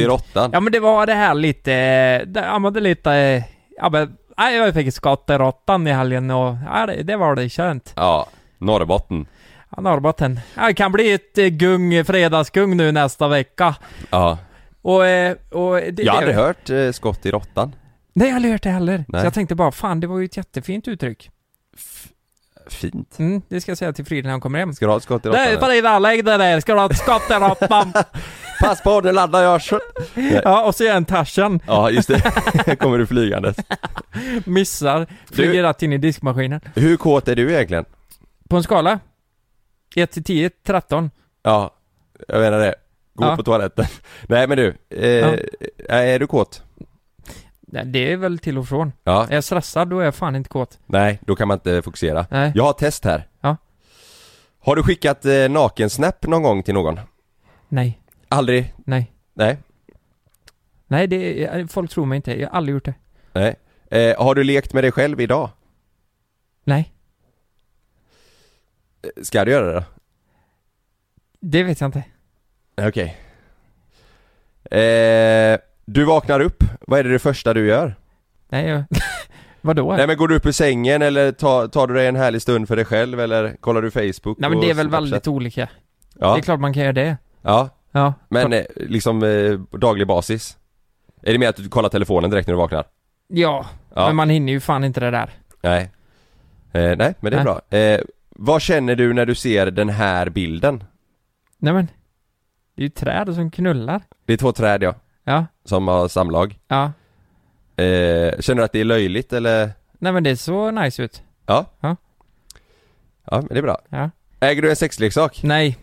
Speaker 1: Skott i råttan.
Speaker 3: Ja men det var det här lite... eh, det- Ja men det är lite... eh, Ja men... Nej, jag fick ett skott i råttan i helgen och... Ja, det, det var det skönt.
Speaker 1: Ja. Norrbotten.
Speaker 3: Ja, Norrbotten. Ja, det kan bli ett eh, gung, fredagsgung nu nästa vecka.
Speaker 1: Ja.
Speaker 3: Och... eh, och det,
Speaker 1: Jag har
Speaker 3: det-
Speaker 1: aldrig hört eh, skott i råttan.
Speaker 3: Nej, jag har aldrig hört det heller.
Speaker 1: Nej.
Speaker 3: Så jag tänkte bara, fan det var ju ett jättefint uttryck.
Speaker 1: Fint.
Speaker 3: Mm, det ska jag säga till Frida när hon kommer hem.
Speaker 1: Ska du ha ett skott i
Speaker 3: Det är
Speaker 1: råttan? eller?
Speaker 3: Frida, lägg dig ner, ska du ha ett skott i råttan?
Speaker 1: Pass på, nu laddar jag. Kör.
Speaker 3: Ja, och så är en Tarzan.
Speaker 1: Ja, just det. kommer du flygandes.
Speaker 3: Missar, flyger rätt in i diskmaskinen.
Speaker 1: Hur kåt är du egentligen?
Speaker 3: På en skala? 1 till 10, 13.
Speaker 1: Ja, jag menar det. Gå
Speaker 3: Ja.
Speaker 1: på toaletten. Nej men du, eh,
Speaker 3: Ja.
Speaker 1: är du kåt?
Speaker 3: Nej, Det är väl till och från.
Speaker 1: Ja.
Speaker 3: Är jag stressad då är jag fan inte kåt.
Speaker 1: Nej, då kan man inte fokusera.
Speaker 3: Nej.
Speaker 1: Jag har ett test här.
Speaker 3: Ja.
Speaker 1: Har du skickat eh, nakensnap någon gång till någon?
Speaker 3: Nej,
Speaker 1: Aldrig?
Speaker 3: nej.
Speaker 1: Nej.
Speaker 3: Nej, det är, folk tror mig inte. Jag har aldrig gjort det.
Speaker 1: Nej. Eh, har du lekt med dig själv idag?
Speaker 3: Nej,
Speaker 1: Ska du göra det då?
Speaker 3: det vet jag inte.
Speaker 1: Nej, Okej. Eh, du vaknar upp, vad är det, det första du gör?
Speaker 3: Nej, jag... Vadå?
Speaker 1: Nej men går du upp ur sängen eller tar, tar du dig en härlig stund för dig själv eller kollar du Facebook?
Speaker 3: Nej men det är
Speaker 1: och
Speaker 3: väl
Speaker 1: Snapchat?
Speaker 3: väldigt olika.
Speaker 1: ja.
Speaker 3: Det är klart man kan göra det.
Speaker 1: ja,
Speaker 3: Ja.
Speaker 1: men eh, liksom eh, på daglig basis? Är det mer att du kollar telefonen direkt när du vaknar?
Speaker 3: Ja,
Speaker 1: Ja.
Speaker 3: men man hinner ju fan inte det där.
Speaker 1: Nej. Eh, nej, men det är
Speaker 3: Nej.
Speaker 1: bra. Eh, vad känner du när du ser den här bilden?
Speaker 3: Nej men, det är ju träd som knullar.
Speaker 1: Det är två träd ja,
Speaker 3: Ja,
Speaker 1: som har samlag.
Speaker 3: ja.
Speaker 1: Eh, känner du att det är löjligt eller?
Speaker 3: Nej men det så nice ut.
Speaker 1: Ja.
Speaker 3: Ja.
Speaker 1: Ja, men det är bra.
Speaker 3: Ja.
Speaker 1: Äger du en sexleksak?
Speaker 3: Nej,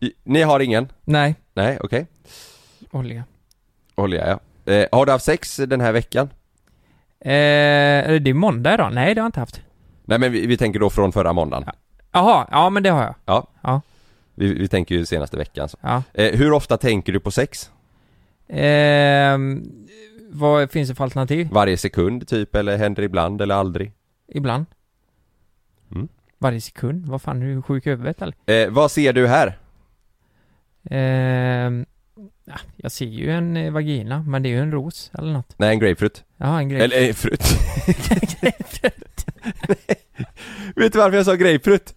Speaker 1: I- Ni har ingen?
Speaker 3: nej.
Speaker 1: Nej, okej.
Speaker 3: Olja.
Speaker 1: Olja ja. Eh, har du haft sex den här veckan?
Speaker 3: Eh, är det måndag idag? Nej det har jag inte haft.
Speaker 1: Nej men vi, vi tänker då från förra måndagen. Ja.
Speaker 3: Jaha, ja men det har jag.
Speaker 1: Vi, vi tänker ju senaste veckan. Så.
Speaker 3: Ja.
Speaker 1: Eh, hur ofta tänker du på sex?
Speaker 3: Ehm, vad finns det för alternativ?
Speaker 1: Varje sekund typ, eller händer ibland eller aldrig?
Speaker 3: Ibland.
Speaker 1: Mm.
Speaker 3: Varje sekund? Vad fan, är du sjuk i huvudet eller?
Speaker 1: Eh, vad ser du här?
Speaker 3: Ehm, ja, jag ser ju en eh, vagina, men det är ju en ros eller något.
Speaker 1: Nej, en grapefrukt.
Speaker 3: Ja, en grej.
Speaker 1: Eller eh, frukt. Vet du varför jag sa grapefrukt?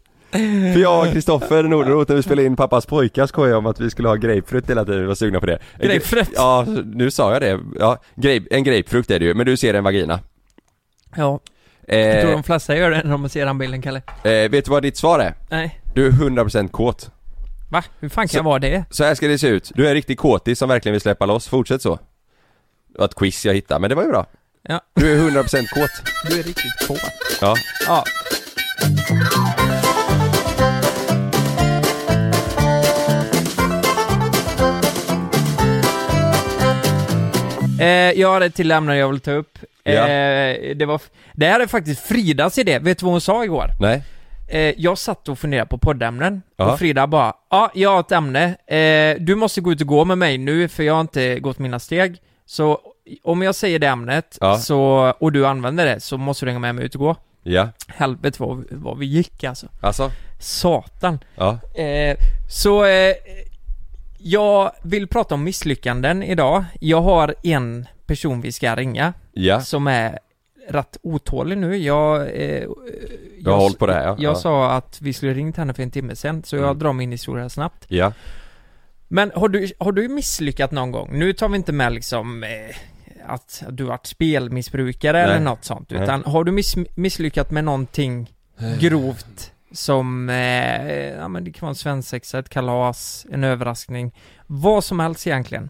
Speaker 1: För jag och Kristoffer Nordenroth när vi spelade in Pappas pojkar skojade om att vi skulle ha grapefrukt hela tiden, vi var sugna på det. Eh,
Speaker 3: Grapefrukt?
Speaker 1: Ja, nu sa jag det. Ja, grape, en grapefrukt är det ju, men du ser en vagina.
Speaker 3: Ja, jag tror
Speaker 1: Eh,
Speaker 3: de flesta gör det när de ser den bilden, Kalle.
Speaker 1: eh, vet du vad ditt svar är?
Speaker 3: Nej.
Speaker 1: Du är 100% kåt.
Speaker 3: Va? Hur fan kan
Speaker 1: Så-
Speaker 3: jag vara det?
Speaker 1: Så här ska det se ut. Du är en riktig kåtis som verkligen vill släppa loss. Fortsätt så. Det var ett quiz jag hittade, men det var ju bra.
Speaker 3: Ja.
Speaker 1: Du är 100% kåt.
Speaker 3: Du är riktigt kåt.
Speaker 1: Ja.
Speaker 3: Ja. Eh, jag har ett till ämne jag vill ta upp. Eh,
Speaker 1: Ja.
Speaker 3: det, var, f- det här är faktiskt Fridas idé. Vet du vad hon sa igår?
Speaker 1: Nej.
Speaker 3: Eh, jag satt och funderade på poddämnen
Speaker 1: Ja.
Speaker 3: och Frida bara Ja, jag har ett ämne. Eh, du måste gå ut och gå med mig nu för jag har inte gått mina steg. Så om jag säger det ämnet
Speaker 1: Ja.
Speaker 3: så, och du använder det så måste du hänga med mig ut och gå.
Speaker 1: Ja.
Speaker 3: Helvete vad, vad vi gick alltså.
Speaker 1: Alltså?
Speaker 3: Satan.
Speaker 1: Ja.
Speaker 3: Eh, så eh, jag vill prata om misslyckanden idag. Jag har en person vi ska ringa
Speaker 1: Ja.
Speaker 3: som är rätt otålig nu. Jag... Eh,
Speaker 1: har hållit på det här, ja.
Speaker 3: Jag
Speaker 1: Ja. Mm.
Speaker 3: sa att vi skulle ringt henne för en timme sedan, så jag drar min historia snabbt.
Speaker 1: Ja.
Speaker 3: Men har du, har du misslyckat någon gång? Nu tar vi inte med liksom eh, att du varit spelmissbrukare
Speaker 1: Nej.
Speaker 3: eller något sånt,
Speaker 1: Nej. Eh.
Speaker 3: utan har du miss, misslyckat med någonting grovt som, eh, ja men det kan vara en svensexa, ett kalas, en överraskning, vad som helst egentligen.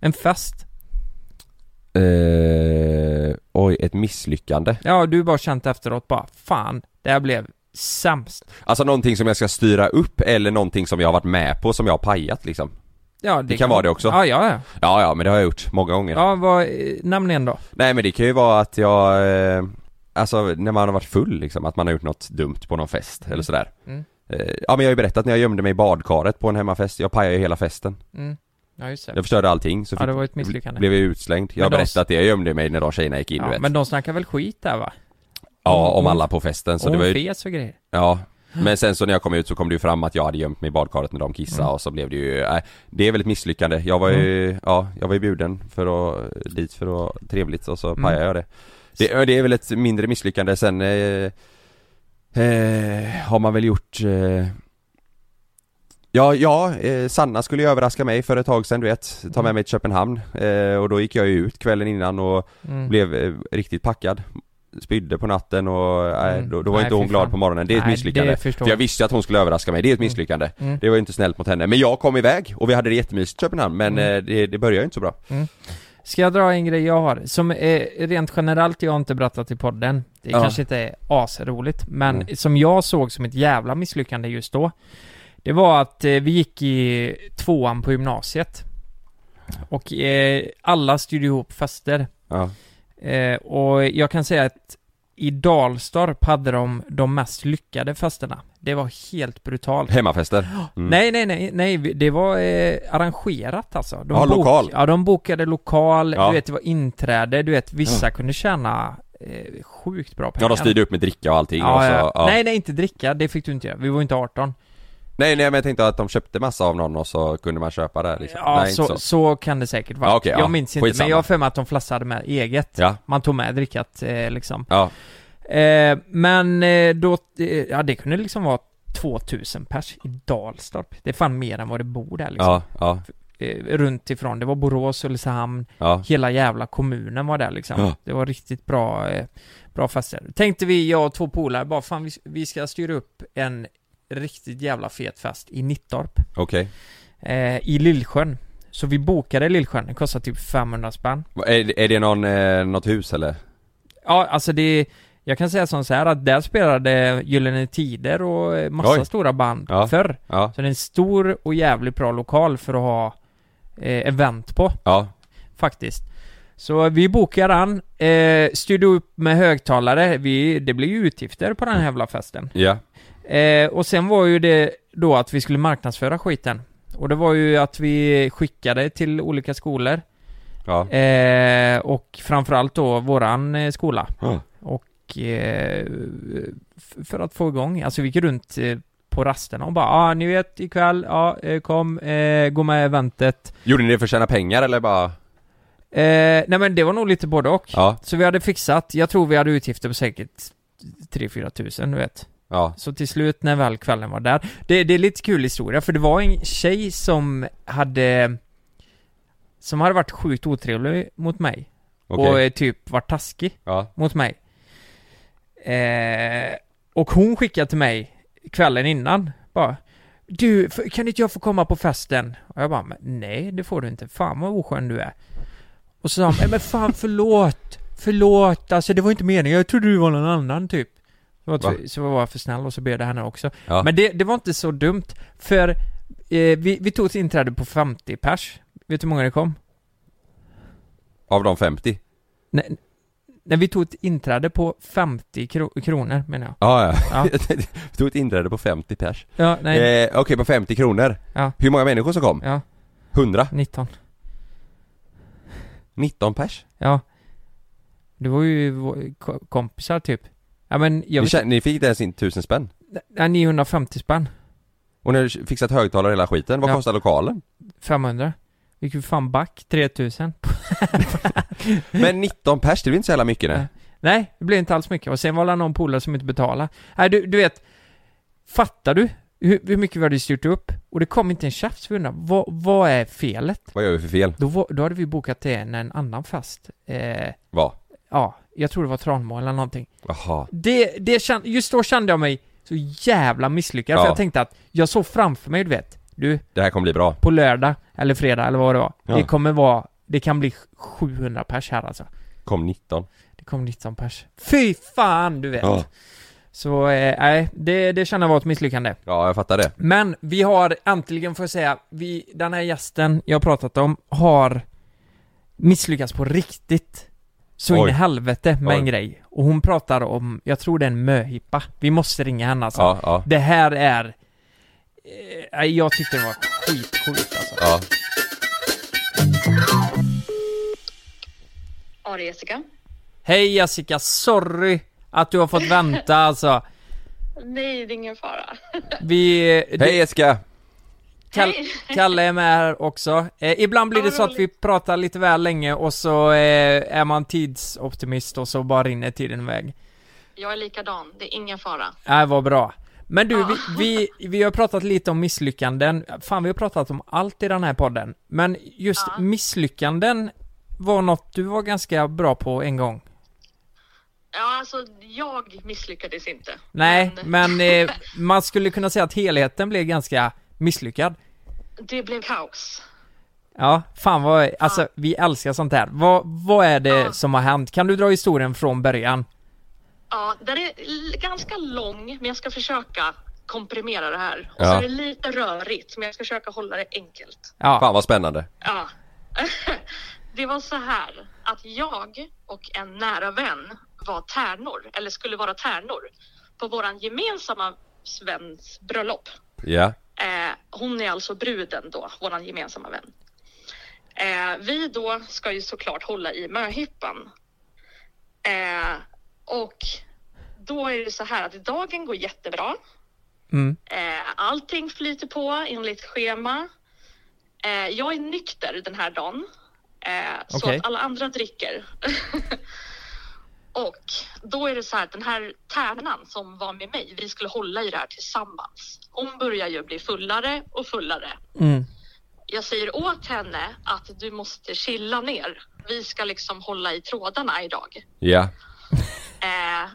Speaker 3: En fest.
Speaker 1: Eh, oj, ett misslyckande.
Speaker 3: Ja, du har bara känt efteråt bara, fan, det här blev sämst.
Speaker 1: Alltså någonting som jag ska styra upp eller någonting som jag har varit med på som jag har pajat liksom.
Speaker 3: Ja,
Speaker 1: Det kan vara det också.
Speaker 3: Ja, ja, ja.
Speaker 1: Ja, ja, men det har jag gjort många gånger.
Speaker 3: Ja, vad, eh, nämn en då.
Speaker 1: Nej, men det kan ju vara att jag, eh, alltså när man har varit full liksom, att man har gjort något dumt på någon fest eller sådär.
Speaker 3: Mm.
Speaker 1: Eh, ja, men jag har ju berättat när jag gömde mig i badkaret på en hemmafest, jag pajade ju hela festen.
Speaker 3: Mm. Ja, just det.
Speaker 1: Jag förstörde allting så
Speaker 3: Ja, det var ett misslyckande.
Speaker 1: blev jag utslängd. Jag
Speaker 3: Men
Speaker 1: har
Speaker 3: de-
Speaker 1: berättat det, jag gömde mig när de tjejerna gick in du
Speaker 3: Ja,
Speaker 1: vet.
Speaker 3: men de snackar väl skit där va?
Speaker 1: Ja, om
Speaker 3: hon-
Speaker 1: alla på festen så
Speaker 3: och
Speaker 1: det var
Speaker 3: hon
Speaker 1: ju,
Speaker 3: fes och grejer.
Speaker 1: ja. Men sen så när jag kom ut så kom det ju fram att jag hade gömt mig i badkaret när de kissade
Speaker 3: Mm.
Speaker 1: och så blev det ju, nej, det är väl ett misslyckande. Jag var ju, ja, jag var ju bjuden för att, dit för att, trevligt och så
Speaker 3: Mm.
Speaker 1: pajade jag det. det. Det är väl ett mindre misslyckande sen, eh, eh, har man väl gjort, eh, Ja, ja, eh, Sanna skulle ju överraska mig för ett tag sedan du vet, ta med mig till Köpenhamn eh, och då gick jag ju ut kvällen innan och
Speaker 3: Mm.
Speaker 1: blev eh, riktigt packad Spydde på natten och nej,
Speaker 3: Mm.
Speaker 1: då, då var
Speaker 3: Nej,
Speaker 1: inte hon
Speaker 3: fy
Speaker 1: glad
Speaker 3: fan.
Speaker 1: på morgonen, det är ett
Speaker 3: Nej,
Speaker 1: misslyckande
Speaker 3: det förstår
Speaker 1: För jag
Speaker 3: jag.
Speaker 1: visste ju att hon skulle överraska mig, det är ett misslyckande
Speaker 3: Mm.
Speaker 1: Det var ju inte snällt mot henne, men jag kom iväg och vi hade det jättemysigt i Köpenhamn men
Speaker 3: Mm.
Speaker 1: eh, det, det började ju inte så bra
Speaker 3: Ska jag dra en grej jag har? Som eh, rent generellt jag har inte berättat i podden. Det
Speaker 1: Ja.
Speaker 3: kanske inte är asroligt, men
Speaker 1: Mm.
Speaker 3: som jag såg som ett jävla misslyckande just då. Det var att eh, vi gick i tvåan på gymnasiet. Och eh, alla styrde ihop fester.
Speaker 1: Ja,
Speaker 3: Eh, och jag kan säga att i Dalstorp hade de de mest lyckade festerna. Det var helt brutalt.
Speaker 1: hemmafester Mm.
Speaker 3: Nej, nej, nej, nej, vi- det var eh, arrangerat alltså. De
Speaker 1: Ja, lokal.
Speaker 3: Ja, de bokade lokal,
Speaker 1: Ja.
Speaker 3: du vet, det var inträde, du vet, vissa kunde tjäna eh, sjukt bra pengar.
Speaker 1: Ja, de styrde upp med dricka och allting och
Speaker 3: Ja,
Speaker 1: så,
Speaker 3: ja.
Speaker 1: ja.
Speaker 3: Nej, nej, inte dricka. Det fick du inte göra. Vi var ju inte 18.
Speaker 1: nej, nej, men jag tänkte att de köpte massa av någon och så kunde man köpa där liksom.
Speaker 3: Ja,
Speaker 1: nej,
Speaker 3: så,
Speaker 1: inte
Speaker 3: så.
Speaker 1: så.
Speaker 3: kan det säkert vara.
Speaker 1: Ja, okej,
Speaker 3: jag
Speaker 1: ja.
Speaker 3: minns inte,
Speaker 1: Skitsamma.
Speaker 3: men jag har för mig att de flassade med eget.
Speaker 1: Ja,
Speaker 3: Man tog med drickat eh, liksom.
Speaker 1: ja,
Speaker 3: Eh, men eh, då, eh, ja det kunde liksom vara 2000 pers i Dalstorp. Det är fan mer än vad det bor där liksom.
Speaker 1: ja, ja,
Speaker 3: Eh, runt ifrån. Det var Borås, Ulricehamn,
Speaker 1: ja.
Speaker 3: hela jävla kommunen var där liksom.
Speaker 1: Ja.
Speaker 3: Det var riktigt bra, eh, bra fastigheter. Tänkte vi, jag och två polare, bara fan vi, vi ska styra upp en riktigt jävla fet fest i Nittorp.
Speaker 1: Okej.
Speaker 3: Eh, I Lillsjön. Så vi bokade Lillsjön, den kostade typ 500 spänn.
Speaker 1: Va- Är, det- är det någon, eh, något hus eller?
Speaker 3: Ja, alltså det... Jag kan säga som så här att där spelade Gyllene Tider och eh, massa
Speaker 1: Oj.
Speaker 3: stora band
Speaker 1: Ja.
Speaker 3: förr.
Speaker 1: Ja,
Speaker 3: Så det är en stor och jävligt bra lokal för att ha eh, event på,
Speaker 1: ja,
Speaker 3: faktiskt. Så vi bokade den, eh, styrde upp med högtalare. Vi, det blev ju utgifter på den här jävla festen.
Speaker 1: ja,
Speaker 3: Eh, och sen var ju det då att vi skulle marknadsföra skiten. Och det var ju att vi skickade till olika skolor.
Speaker 1: ja.
Speaker 3: Eh, och framförallt då våran eh, skola.
Speaker 1: Ja.
Speaker 3: Och eh, f- för att få igång, alltså vi gick runt eh, på rasterna och bara ja ah, ni vet ikväll, ja eh, kom, eh, gå med i eventet.
Speaker 1: Gjorde ni det för att tjäna pengar eller bara?
Speaker 3: Eh, nej men det var nog lite både och.
Speaker 1: Ja,
Speaker 3: Så vi hade fixat, jag tror vi hade utgifter på säkert 3-4 tusen du vet.
Speaker 1: ja,
Speaker 3: Så till slut när väl kvällen var där. Det, det är lite kul historia för det var en tjej som hade som hade varit sjukt otrevlig mot mig.
Speaker 1: okej.
Speaker 3: Och eh, typ varit taskig
Speaker 1: Ja,
Speaker 3: mot mig. Eh, och hon skickade till mig kvällen innan bara Du, f- kan inte jag få komma på festen? Och jag bara, "Men nej det får du inte. Fan vad oskön du är. Och så sa hon, "Nej, men fan förlåt. Förlåt, alltså det var inte meningen. Jag trodde du var någon annan typ. Så var,
Speaker 1: Va?
Speaker 3: så var jag för snäll och så bjöd jag henne också.
Speaker 1: ja,
Speaker 3: Men det, det var inte så dumt. För eh, vi, vi tog ett inträde på 50 pers. Vet du hur många det kom?
Speaker 1: av de 50?
Speaker 3: Nej, nej, vi tog ett inträde på 50 kro- kronor menar jag.
Speaker 1: Ja, ja.
Speaker 3: Ja.
Speaker 1: Jag tog ett inträde på 50 pers.
Speaker 3: Ja,
Speaker 1: Eh,
Speaker 3: nej.
Speaker 1: Okej, på 50 kronor.
Speaker 3: Ja.
Speaker 1: Hur många människor som kom?
Speaker 3: Ja,
Speaker 1: 100?
Speaker 3: 19.
Speaker 1: 19 pers?
Speaker 3: Ja. Det var ju vår- ko- kompisar typ. Ja men jag
Speaker 1: Ni,
Speaker 3: vet
Speaker 1: tjä- ni fick inte ens in 1000 spänn?
Speaker 3: ja, 950 spänn.
Speaker 1: Och ni har fixat högtalare och hela skiten, vad
Speaker 3: Ja.
Speaker 1: kostar lokalen?
Speaker 3: 500. Vi gick ju fan back 3000.
Speaker 1: Men 19 pers, det är väl inte så jävla mycket
Speaker 3: Nej.
Speaker 1: nej?
Speaker 3: Nej, det blev inte alls mycket. Och sen var det någon polare som inte betalade. Nej du, du vet. Fattar du? Hur, hur mycket vi hade styrt upp? Och det kom inte en tjafs. Vi undrade, vad, vad är felet?
Speaker 1: Vad gör vi för fel?
Speaker 3: Då, var, då hade vi bokat det en, en annan fest. Eh,
Speaker 1: Vad?
Speaker 3: ja, jag tror det var Tranmo eller någonting.
Speaker 1: Jaha,
Speaker 3: Det, det kände, just då kände jag mig så jävla misslyckad
Speaker 1: Ja.
Speaker 3: för jag tänkte att jag såg framför mig, du vet, du,
Speaker 1: det här kommer bli bra.
Speaker 3: på lördag eller fredag eller vad det var.
Speaker 1: Ja.
Speaker 3: Det kommer vara, det kan bli 700 pers här alltså.
Speaker 1: Kom 19.
Speaker 3: Det kom 19 pers. Fy fan, du vet.
Speaker 1: Ja.
Speaker 3: Så, eh, nej, det, det kände jag var ett misslyckande.
Speaker 1: Ja, jag fattar det.
Speaker 3: Men vi har, äntligen får jag säga, vi, den här gästen jag har pratat om har misslyckats på riktigt. Så in
Speaker 1: Oj.
Speaker 3: i helvete med en
Speaker 1: Oj.
Speaker 3: grej. Och hon pratar om, jag tror det är en möhippa. Vi måste ringa henne alltså.
Speaker 1: Ja, ja,
Speaker 3: Det här är... eh, nej, jag tyckte det var skitsjukt alltså.
Speaker 1: ja.
Speaker 4: Ja, det är Jessica.
Speaker 3: Hej Jessica, sorry att du har fått vänta alltså.
Speaker 4: Nej, det är ingen fara.
Speaker 3: Vi... eh, det-
Speaker 1: Hej Jessica!
Speaker 3: Kall, Kalle är med här också. Eh, ibland blir det så att vi pratar lite väl länge och så eh, är man tidsoptimist och så bara rinner tiden iväg.
Speaker 4: Jag är likadan, det är ingen fara.
Speaker 3: Nej, vad bra. Men du, vi, vi, vi har pratat lite om misslyckanden. Fan, vi har pratat om allt i den här podden. Men just misslyckanden var något du var ganska bra på en gång.
Speaker 4: Ja, alltså jag misslyckades inte.
Speaker 3: Nej, men eh, man skulle kunna säga att helheten blev ganska misslyckad.
Speaker 4: Det blev kaos.
Speaker 3: Ja, fan vad, alltså vi älskar sånt här. Vad, vad är det
Speaker 4: Ja.
Speaker 3: som har hänt? Kan du dra historien från början?
Speaker 4: Ja, den är l- ganska lång, men jag ska försöka komprimera det här.
Speaker 1: Ja.
Speaker 4: Och så är det lite rörigt, men jag ska försöka hålla det enkelt.
Speaker 3: Ja,
Speaker 1: Fan vad spännande.
Speaker 4: Ja. Det var så här att jag och en nära vän var tärnor, eller skulle vara tärnor, på våran gemensamma väns bröllop.
Speaker 1: Ja,
Speaker 4: Eh, hon är alltså bruden då, våran gemensamma vän. Eh, vi då ska ju såklart hålla i möhippan. Eh, Och då är det så här att dagen går jättebra.
Speaker 3: Mm.
Speaker 4: Eh, allting flyter på enligt schema. Eh, jag är nykter den här dagen. Eh, Så
Speaker 3: Okej.
Speaker 4: att alla andra dricker. och då är det så här att den här tärnan som var med mig, vi skulle hålla i det här tillsammans. Hon börjar ju bli fullare och fullare.
Speaker 3: Mm.
Speaker 4: Jag säger åt henne att du måste chilla ner. Vi ska liksom hålla i trådarna idag.
Speaker 1: Ja.
Speaker 4: Eh,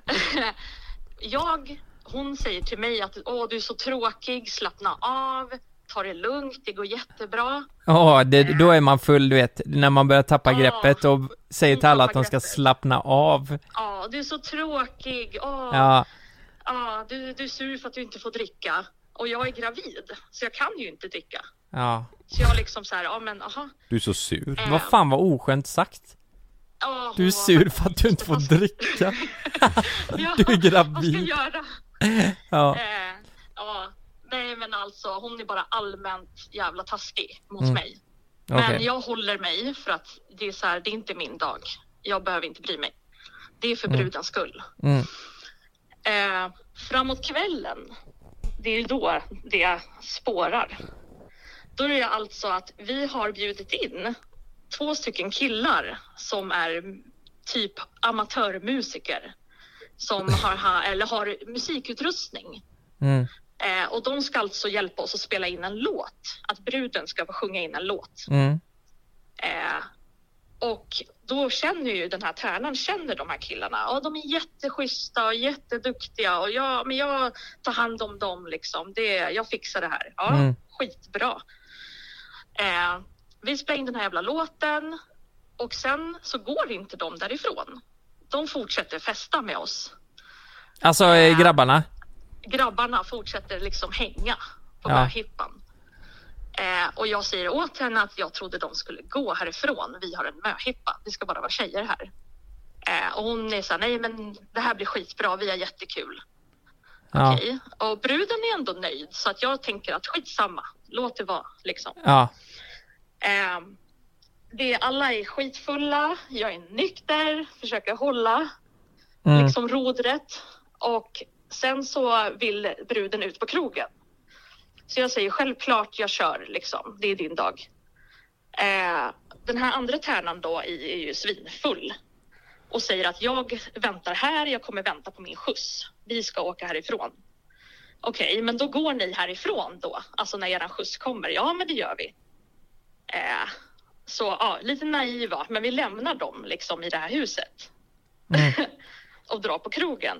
Speaker 4: jag, hon säger till mig att Åh, du är så tråkig, slappna av, ta det lugnt, det går jättebra.
Speaker 3: Ja, det, då är man full du vet, när man börjar tappa
Speaker 4: Ja.
Speaker 3: greppet och säger till alla att de ska
Speaker 4: Tappar greppet.
Speaker 3: slappna av.
Speaker 4: Ja, du är så tråkig, Åh, ja.
Speaker 3: Ja,
Speaker 4: du, du är sur för att du inte får dricka. Och jag är gravid, så jag kan ju inte dricka.
Speaker 3: ja.
Speaker 4: Så jag liksom så här, ja men aha.
Speaker 1: Du är så sur.
Speaker 4: eh,
Speaker 3: Vad fan var oskönt sagt?
Speaker 4: ja,
Speaker 3: Du är
Speaker 4: hon-
Speaker 3: sur för att du inte får dricka.
Speaker 4: Ja,
Speaker 3: du är gravid.
Speaker 4: Vad ska jag göra?
Speaker 3: Ja,
Speaker 4: Eh, ja, nej men alltså hon är bara allmänt jävla taskig mot
Speaker 3: Mm.
Speaker 4: mig. Men
Speaker 3: okej.
Speaker 4: jag håller mig för att det är så här, det är inte min dag. Jag behöver inte bry mig. Det är för brudens skull.
Speaker 3: Mm.
Speaker 4: Eh, framåt kvällen, det är då det spårar. Då är det alltså att vi har bjudit in två stycken killar som är typ amatörmusiker som har, ha, eller har musikutrustning.
Speaker 3: Mm.
Speaker 4: Eh, och de ska alltså hjälpa oss att spela in en låt. Att bruden ska få sjunga in en låt.
Speaker 3: Mm.
Speaker 4: Eh, och då känner ju den här tärnan, känner de här killarna. Ja, de är jätteschyssta och jätteduktiga och jag, men jag tar hand om dem liksom. Det, jag fixar det här. Ja,
Speaker 3: Mm.
Speaker 4: skitbra. Eh, vi spelar in den här jävla låten och sen så går inte de därifrån. De fortsätter festa med oss.
Speaker 3: Alltså
Speaker 4: Äh.
Speaker 3: eh, grabbarna.
Speaker 4: Grabbarna fortsätter liksom hänga på
Speaker 3: Ja.
Speaker 4: möhippan. Eh, och jag säger åt henne att jag trodde de skulle gå härifrån. Vi har en möhippa. Vi ska bara vara tjejer här. Eh, och hon är så här, nej men det här blir skitbra. Vi har jättekul.
Speaker 3: Ja,
Speaker 4: Okej. Och bruden är ändå nöjd så att jag tänker att skitsamma. Låt det vara liksom.
Speaker 3: ja.
Speaker 4: Eh, det, alla är skitfulla. Jag är nykter, försöker hålla
Speaker 3: Mm.
Speaker 4: liksom rodret och sen så vill bruden ut på krogen. Så jag säger självklart jag kör liksom, det är din dag. Eh, den här andra tärnan då i är ju svinfull och säger att jag väntar här, jag kommer vänta på min skjuts. Vi ska åka härifrån. Okej, men då går ni härifrån då, alltså när eran skjuts kommer. Ja, men det gör vi. Eh, så ja, lite naiva, men vi lämnar dem liksom i det här huset och drar på krogen.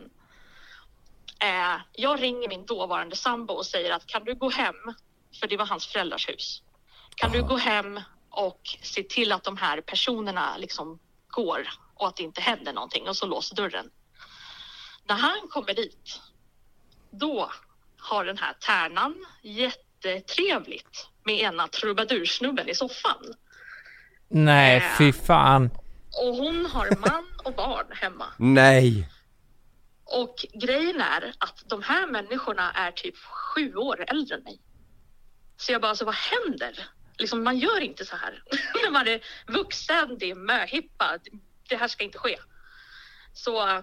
Speaker 4: Eh, jag ringer min dåvarande sambo och säger att kan du gå hem, för det var hans föräldrars hus. Kan du gå hem och se till att de här personerna liksom går och att det inte händer någonting och så låser dörren. När han kommer dit, då har den här tärnan jättetrevligt med ena trubadursnubben i soffan.
Speaker 3: Nej, fy fan.
Speaker 4: Och hon har man och barn hemma.
Speaker 1: Nej!
Speaker 4: Och grejen är att de här människorna är typ sju år äldre än mig. Så jag bara, alltså vad händer? Liksom, man gör inte så här. När man är vuxen, det är möhippa, det här ska inte ske. Så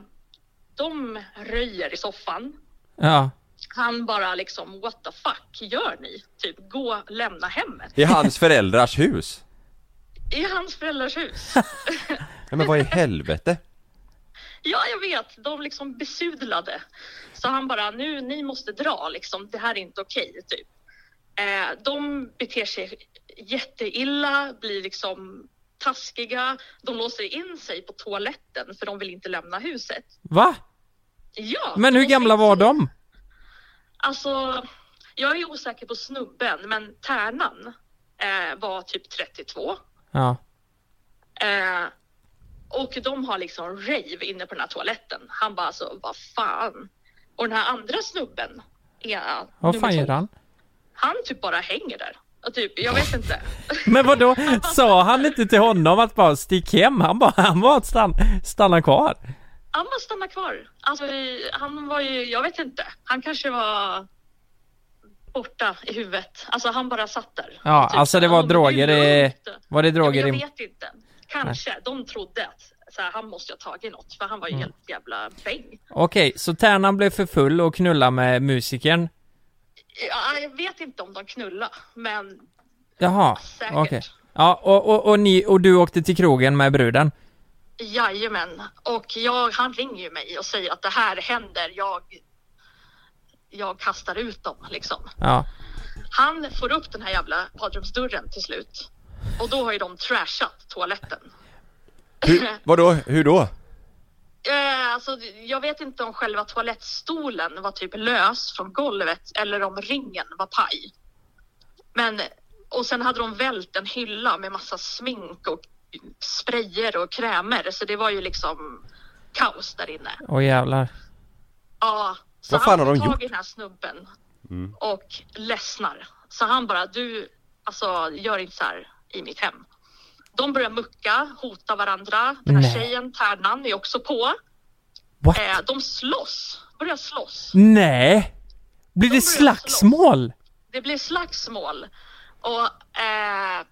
Speaker 4: de röjer i soffan.
Speaker 3: Ja.
Speaker 4: Han bara liksom, what the fuck gör ni? Typ, gå, lämna hemmet.
Speaker 1: I hans föräldrars hus?
Speaker 4: I hans föräldrars hus.
Speaker 1: Nej men vad i helvete?
Speaker 4: Ja, jag vet. De liksom besudlade. Så han bara, nu ni måste dra liksom. Det här är inte okej, typ. Eh, de beter sig jätteilla, blir liksom taskiga. De låser in sig på toaletten för de vill inte lämna huset.
Speaker 3: Va?
Speaker 4: Ja,
Speaker 3: Men hur
Speaker 4: de
Speaker 3: gamla
Speaker 4: finns-
Speaker 3: var de?
Speaker 4: Alltså, jag är osäker på snubben, men tärnan eh, var typ 32.
Speaker 3: Ja.
Speaker 4: Eh, och de har liksom rave inne på den här toaletten. Han bara alltså, vad fan? Och den här andra snubben är
Speaker 3: Vad
Speaker 4: nummer
Speaker 3: fan
Speaker 4: två.
Speaker 3: gör han?
Speaker 4: Han typ bara hänger där. Och typ, jag vet inte.
Speaker 3: Men vad då? Sa han inte till honom att bara stick hem? Han bara, han bara att stanna, stanna kvar.
Speaker 4: Han bara stannar kvar. Alltså, i- han var ju, jag vet inte. Han kanske var borta i huvudet. Alltså han bara satt där. Typ
Speaker 3: Ja, alltså det var
Speaker 4: "Ja, men
Speaker 3: droger
Speaker 4: det är
Speaker 3: i...
Speaker 4: lugnt."
Speaker 3: Var det
Speaker 4: Ja, men
Speaker 3: droger
Speaker 4: Jag
Speaker 3: i...
Speaker 4: vet inte. Kanske. De trodde att att så här, han måste ha tagit något för han
Speaker 3: Mm.
Speaker 4: var ju helt jävla bäng.
Speaker 3: Okej, så Tärnan blev för full och knullade med musikern?
Speaker 4: Ja, jag vet inte om de knullade, men
Speaker 3: Jaha,
Speaker 4: Säkert.
Speaker 3: okej. Ja, och, och, och, ni, och du åkte till krogen med bruden?
Speaker 4: jajamän. Och jag, han ringer ju mig och säger att det här händer. Jag, jag kastar ut dem liksom.
Speaker 3: Ja.
Speaker 4: Han får upp den här jävla badrumsdörren till slut. Och då har ju de trashat toaletten.
Speaker 1: Hur, vadå? Hur då?
Speaker 4: Eh, alltså, jag vet inte om själva toalettstolen var typ lös från golvet eller om ringen var paj. Men, och sen hade de vält en hylla med massa smink och sprayer och krämer så det var ju liksom kaos där inne.
Speaker 3: Åh jävlar.
Speaker 4: Ja, så
Speaker 1: Vad fan
Speaker 4: han
Speaker 1: har de
Speaker 4: får tag
Speaker 1: gjort? Mm.
Speaker 4: i den här snubben och ledsnar. Så han bara, du, alltså gör inte så här i mitt hem. De börjar mucka, hota varandra. Den här
Speaker 3: Nej.
Speaker 4: tjejen, Tärnan, är också på.
Speaker 3: What?
Speaker 4: Eh, de slåss, börjar slåss.
Speaker 3: Nej! Blir det
Speaker 4: slåss.
Speaker 3: slagsmål?
Speaker 4: Det blir slagsmål. Och eh,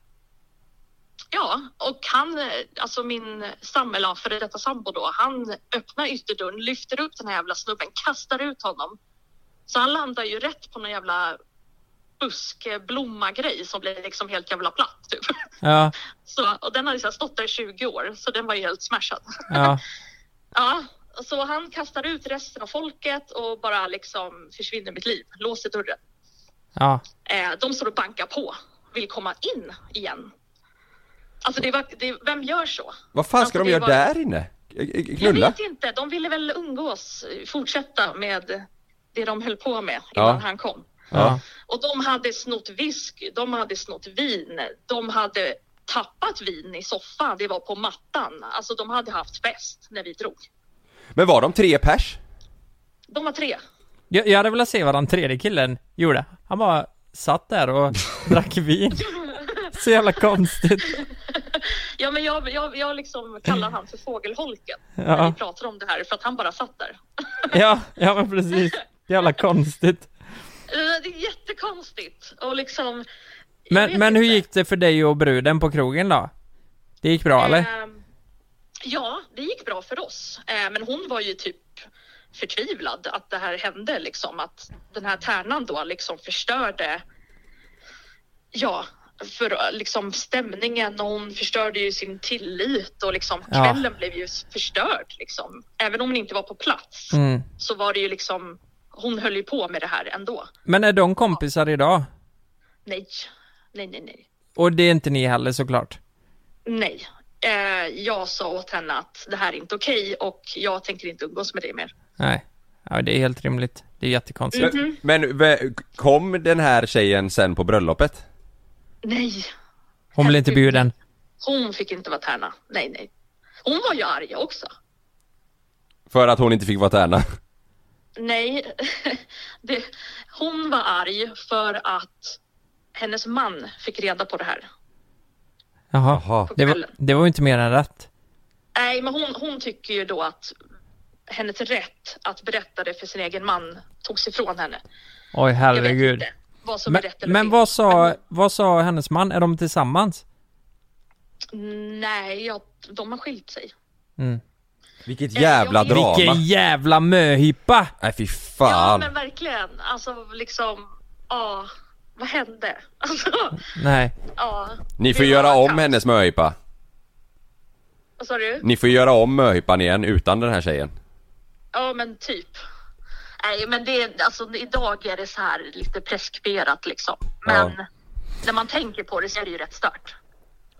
Speaker 4: ja, och han, eh, alltså min sambo, eller ja, före detta sambo då, han öppnar ytterdörren, lyfter upp den här jävla snubben, kastar ut honom. Så han landar ju rätt på någon jävla buskblommagrej som blir liksom helt jävla platt typ.
Speaker 3: Ja,
Speaker 4: Så, och den har ju så här stått där i 20 år, så den var ju helt smashad.
Speaker 3: ja.
Speaker 4: Ja, så han kastar ut resten av folket och bara liksom försvinner mitt liv, låser dörren.
Speaker 3: Ja.
Speaker 4: Eh, de står och bankar på, vill komma in igen. Alltså det var, det, vem gör så?
Speaker 1: Vad fan ska
Speaker 4: Alltså,
Speaker 1: de
Speaker 4: det
Speaker 1: göra
Speaker 4: var-
Speaker 1: där inne? Eh, eh,
Speaker 4: Jag
Speaker 1: Knulla?
Speaker 4: vet inte, de ville väl umgås, eh, fortsätta med det de höll på med innan
Speaker 1: Ja.
Speaker 4: han kom.
Speaker 3: Ja.
Speaker 4: Och de hade snott whisky, de hade snott vin, de hade tappat vin i soffan, det var på mattan. Alltså de hade haft fest när vi drog.
Speaker 1: Men var de tre pers?
Speaker 4: De var tre.
Speaker 3: Jag, jag hade velat se vad den tredje killen gjorde. Han bara satt där och drack vin. Så jävla konstigt.
Speaker 4: Ja, men jag, jag, jag liksom kallar han för fågelholken när
Speaker 3: Ja.
Speaker 4: vi pratar om det här för att han bara satt där.
Speaker 3: Ja, ja men precis. Jävla konstigt.
Speaker 4: Eh, Det är jättekonstigt och liksom. jag
Speaker 3: Men,
Speaker 4: vet
Speaker 3: men hur
Speaker 4: inte.
Speaker 3: gick det för dig och bruden på krogen då? Det gick bra eller?
Speaker 4: Ehm, Ja, det gick bra för oss, Eh, men hon var ju typ förtvivlad att det här hände liksom att den här tärnan då liksom förstörde. Ja, för eh, liksom stämningen och hon förstörde ju sin tillit och liksom
Speaker 3: Ja.
Speaker 4: kvällen blev ju förstörd liksom. Även om hon inte var på plats.
Speaker 3: Mm.
Speaker 4: så var det ju liksom, hon höll ju på med det här ändå.
Speaker 3: Men är de kompisar idag?
Speaker 4: Nej, nej, nej, nej.
Speaker 3: Och det är inte ni heller såklart?
Speaker 4: nej. Eh, jag sa åt henne att det här är inte okej och jag tänker inte umgås med dig mer.
Speaker 3: Nej. Ja, det är helt rimligt. Det är jättekonstigt.
Speaker 4: Mm.
Speaker 1: Men- Men ve- kom den här tjejen sen på bröllopet?
Speaker 4: Nej,
Speaker 3: Hon blir inte bjuden.
Speaker 4: hon fick inte vara tärna. Nej, nej. Hon var ju arg också.
Speaker 1: För att hon inte fick vara tärna?
Speaker 4: Nej, det, hon var arg för att hennes man fick reda på det här.
Speaker 3: Jaha.
Speaker 4: På
Speaker 3: Det var,
Speaker 4: kvällen.
Speaker 3: det var ju inte mer än rätt.
Speaker 4: Nej, men hon, hon tycker ju då att hennes rätt att berätta det för sin egen man togs ifrån henne.
Speaker 3: Oj,
Speaker 4: Jag vet
Speaker 3: herregud.
Speaker 4: inte vad som
Speaker 3: Men,
Speaker 4: är rätt eller
Speaker 3: men
Speaker 4: fel.
Speaker 3: vad sa, vad sa hennes man? Är de tillsammans?
Speaker 4: Nej, jag, de har skilt sig.
Speaker 1: Vilket
Speaker 4: Eh,
Speaker 1: jävla
Speaker 4: jag vet-
Speaker 1: drama!
Speaker 3: Vilken jävla möhippa!
Speaker 1: Nej fy
Speaker 4: Ja,
Speaker 1: fan!
Speaker 4: men verkligen. Alltså liksom, ja, vad hände? Alltså,
Speaker 3: Nej.
Speaker 4: ja.
Speaker 1: Ni får
Speaker 4: Det
Speaker 1: göra
Speaker 4: var
Speaker 1: om
Speaker 4: kaos.
Speaker 1: hennes möhippa.
Speaker 4: Vad sa du?
Speaker 1: Ni får göra om möhippan igen utan den här tjejen.
Speaker 4: Ja, men typ. Nej, men det är, alltså idag är det så här lite preskriberat liksom. Men när man tänker på det så är det ju rätt stört.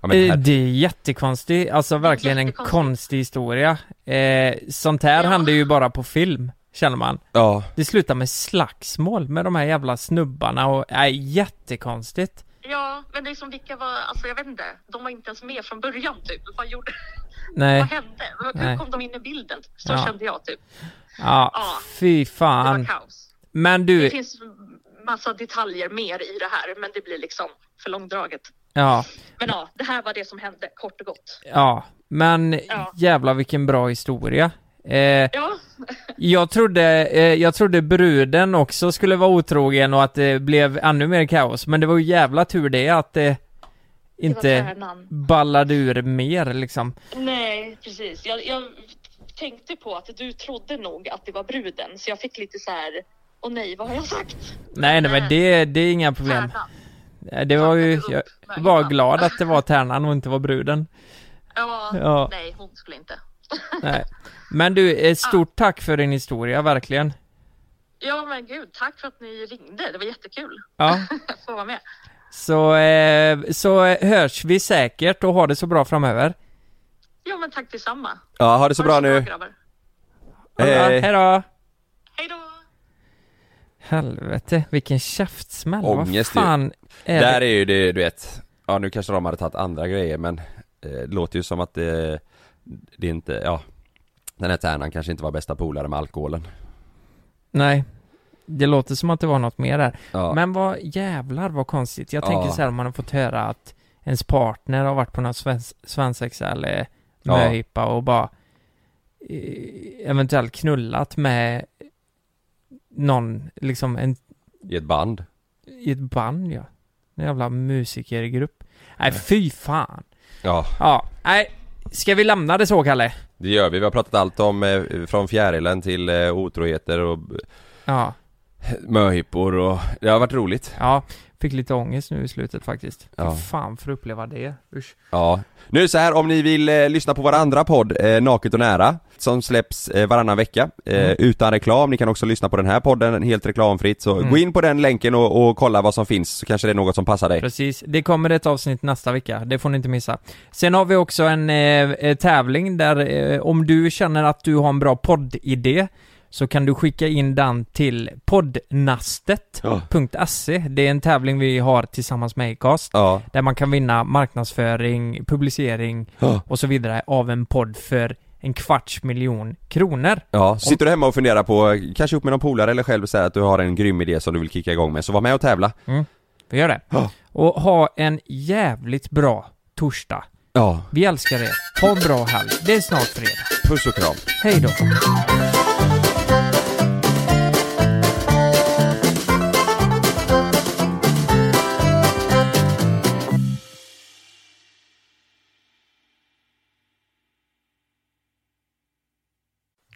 Speaker 1: Ja,
Speaker 3: Eh,
Speaker 1: men här...
Speaker 3: Det är jättekonstigt. Alltså verkligen en
Speaker 4: jättekonstigt.
Speaker 3: konstig historia. Eh, sånt här
Speaker 4: Ja.
Speaker 3: händer ju bara på film, känner man.
Speaker 1: ja.
Speaker 3: Det slutar med slagsmål med de här jävla snubbarna och... Nej, jättekonstigt.
Speaker 4: Ja, men liksom vilka var, alltså jag vet inte, de var inte ens med från början typ. Vad gjorde,
Speaker 3: Nej.
Speaker 4: vad hände?
Speaker 3: Nej.
Speaker 4: Hur kom de in i bilden? Så
Speaker 3: Ja.
Speaker 4: kände jag typ.
Speaker 3: Ja,
Speaker 4: Ja.
Speaker 3: fy
Speaker 4: Det
Speaker 3: fan.
Speaker 4: var kaos.
Speaker 3: Men
Speaker 4: Det
Speaker 3: du,
Speaker 4: finns massa detaljer mer i det här, men det blir liksom för långdraget.
Speaker 3: ja,
Speaker 4: Men ja, det här var det som hände, kort och gott.
Speaker 3: ja. Men
Speaker 4: Ja.
Speaker 3: jävla vilken bra historia. Eh,
Speaker 4: Ja,
Speaker 3: jag trodde, eh, jag trodde bruden också skulle vara otrogen och att det blev ännu mer kaos, men det var ju jävla tur det att det
Speaker 4: Det var
Speaker 3: inte
Speaker 4: tärnan.
Speaker 3: ballade ur mer liksom.
Speaker 4: Nej, precis. Jag, jag tänkte på att du trodde nog att det var bruden, så jag fick lite så här. Åh nej, vad har jag sagt?
Speaker 3: Nej, nej men det, det är inga problem.
Speaker 4: Tärnan.
Speaker 3: Nej, Det var ju,
Speaker 4: Plockade
Speaker 3: jag
Speaker 4: upp
Speaker 3: var
Speaker 4: möjligen.
Speaker 3: glad att det var tärnan och inte var bruden.
Speaker 4: Ja,
Speaker 3: Ja.
Speaker 4: nej, hon skulle inte.
Speaker 3: Nej. Men du, eh, stort tack för din historia, verkligen.
Speaker 4: Ja, men gud, tack för att ni ringde. Det var jättekul
Speaker 3: Ja,
Speaker 4: att få vara med.
Speaker 3: så, eh, så eh, hörs vi säkert och ha det så bra framöver.
Speaker 4: Ja, men tack detsamma.
Speaker 1: Ja, ha det så
Speaker 4: Ha
Speaker 1: bra
Speaker 4: det
Speaker 1: nu.
Speaker 4: grabbar.
Speaker 3: Ha det bra,
Speaker 1: Hej.
Speaker 3: Hej då!
Speaker 4: Hej då!
Speaker 3: Helvete, vilken käftsmäll.
Speaker 1: Ångest ju.
Speaker 3: Vad fan är det?
Speaker 1: Där är ju det, du vet, ja nu kanske de hade tagit andra grejer men eh, det låter ju som att det, det är inte, ja den här tärnan kanske inte var bästa polare med alkoholen.
Speaker 3: Nej. Det låter som att det var något mer där.
Speaker 1: Ja.
Speaker 3: Men vad jävlar vad konstigt. Jag
Speaker 1: Ja.
Speaker 3: tänker så här om man har fått höra att ens partner har varit på någon svens- svensexa eller
Speaker 1: Ja.
Speaker 3: möhippa och bara eh, eventuellt knullat med någon, liksom en,
Speaker 1: I ett band.
Speaker 3: i ett band ja. En jävla musikergrupp. Nej, fy fan.
Speaker 1: Ja,
Speaker 3: Ja, nej. Ska vi lämna det så, Kalle?
Speaker 1: det gör vi. Vi har pratat allt om eh, från fjärilen till eh, otroheter och
Speaker 3: Ja,
Speaker 1: möhippor och det har varit roligt.
Speaker 3: ja. Fick lite ångest nu i slutet faktiskt.
Speaker 1: Ja.
Speaker 3: Fy fan för att uppleva det. Usch.
Speaker 1: Ja. Nu är det så här, om ni vill eh, lyssna på vår andra podd, eh, Naket och nära, som släpps eh, varannan vecka, eh, utan reklam. Ni kan också lyssna på den här podden helt reklamfritt, så gå in på den länken och, och kolla vad som finns, så kanske det är något som passar dig.
Speaker 3: Precis, det kommer ett avsnitt nästa vecka, det får ni inte missa. Sen har vi också en eh, eh, tävling där eh, om du känner att du har en bra poddidé så kan du skicka in den till poddnastet.se. Det är en tävling vi har tillsammans med Acast
Speaker 1: Ja.
Speaker 3: där man kan vinna marknadsföring, publicering
Speaker 1: Ja.
Speaker 3: och så vidare av en podd för en kvarts miljon kronor.
Speaker 1: Ja, så sitter du hemma och funderar på, eh, kanske upp med någon polare eller själv säger att du har en grym idé som du vill kicka igång med, så var med och tävla.
Speaker 3: Vi gör det. Och ha en jävligt bra torsdag.
Speaker 1: Ja,
Speaker 3: Vi älskar er. Ha en bra helg. Det är snart fredag.
Speaker 1: puss och kram.
Speaker 3: Hej då!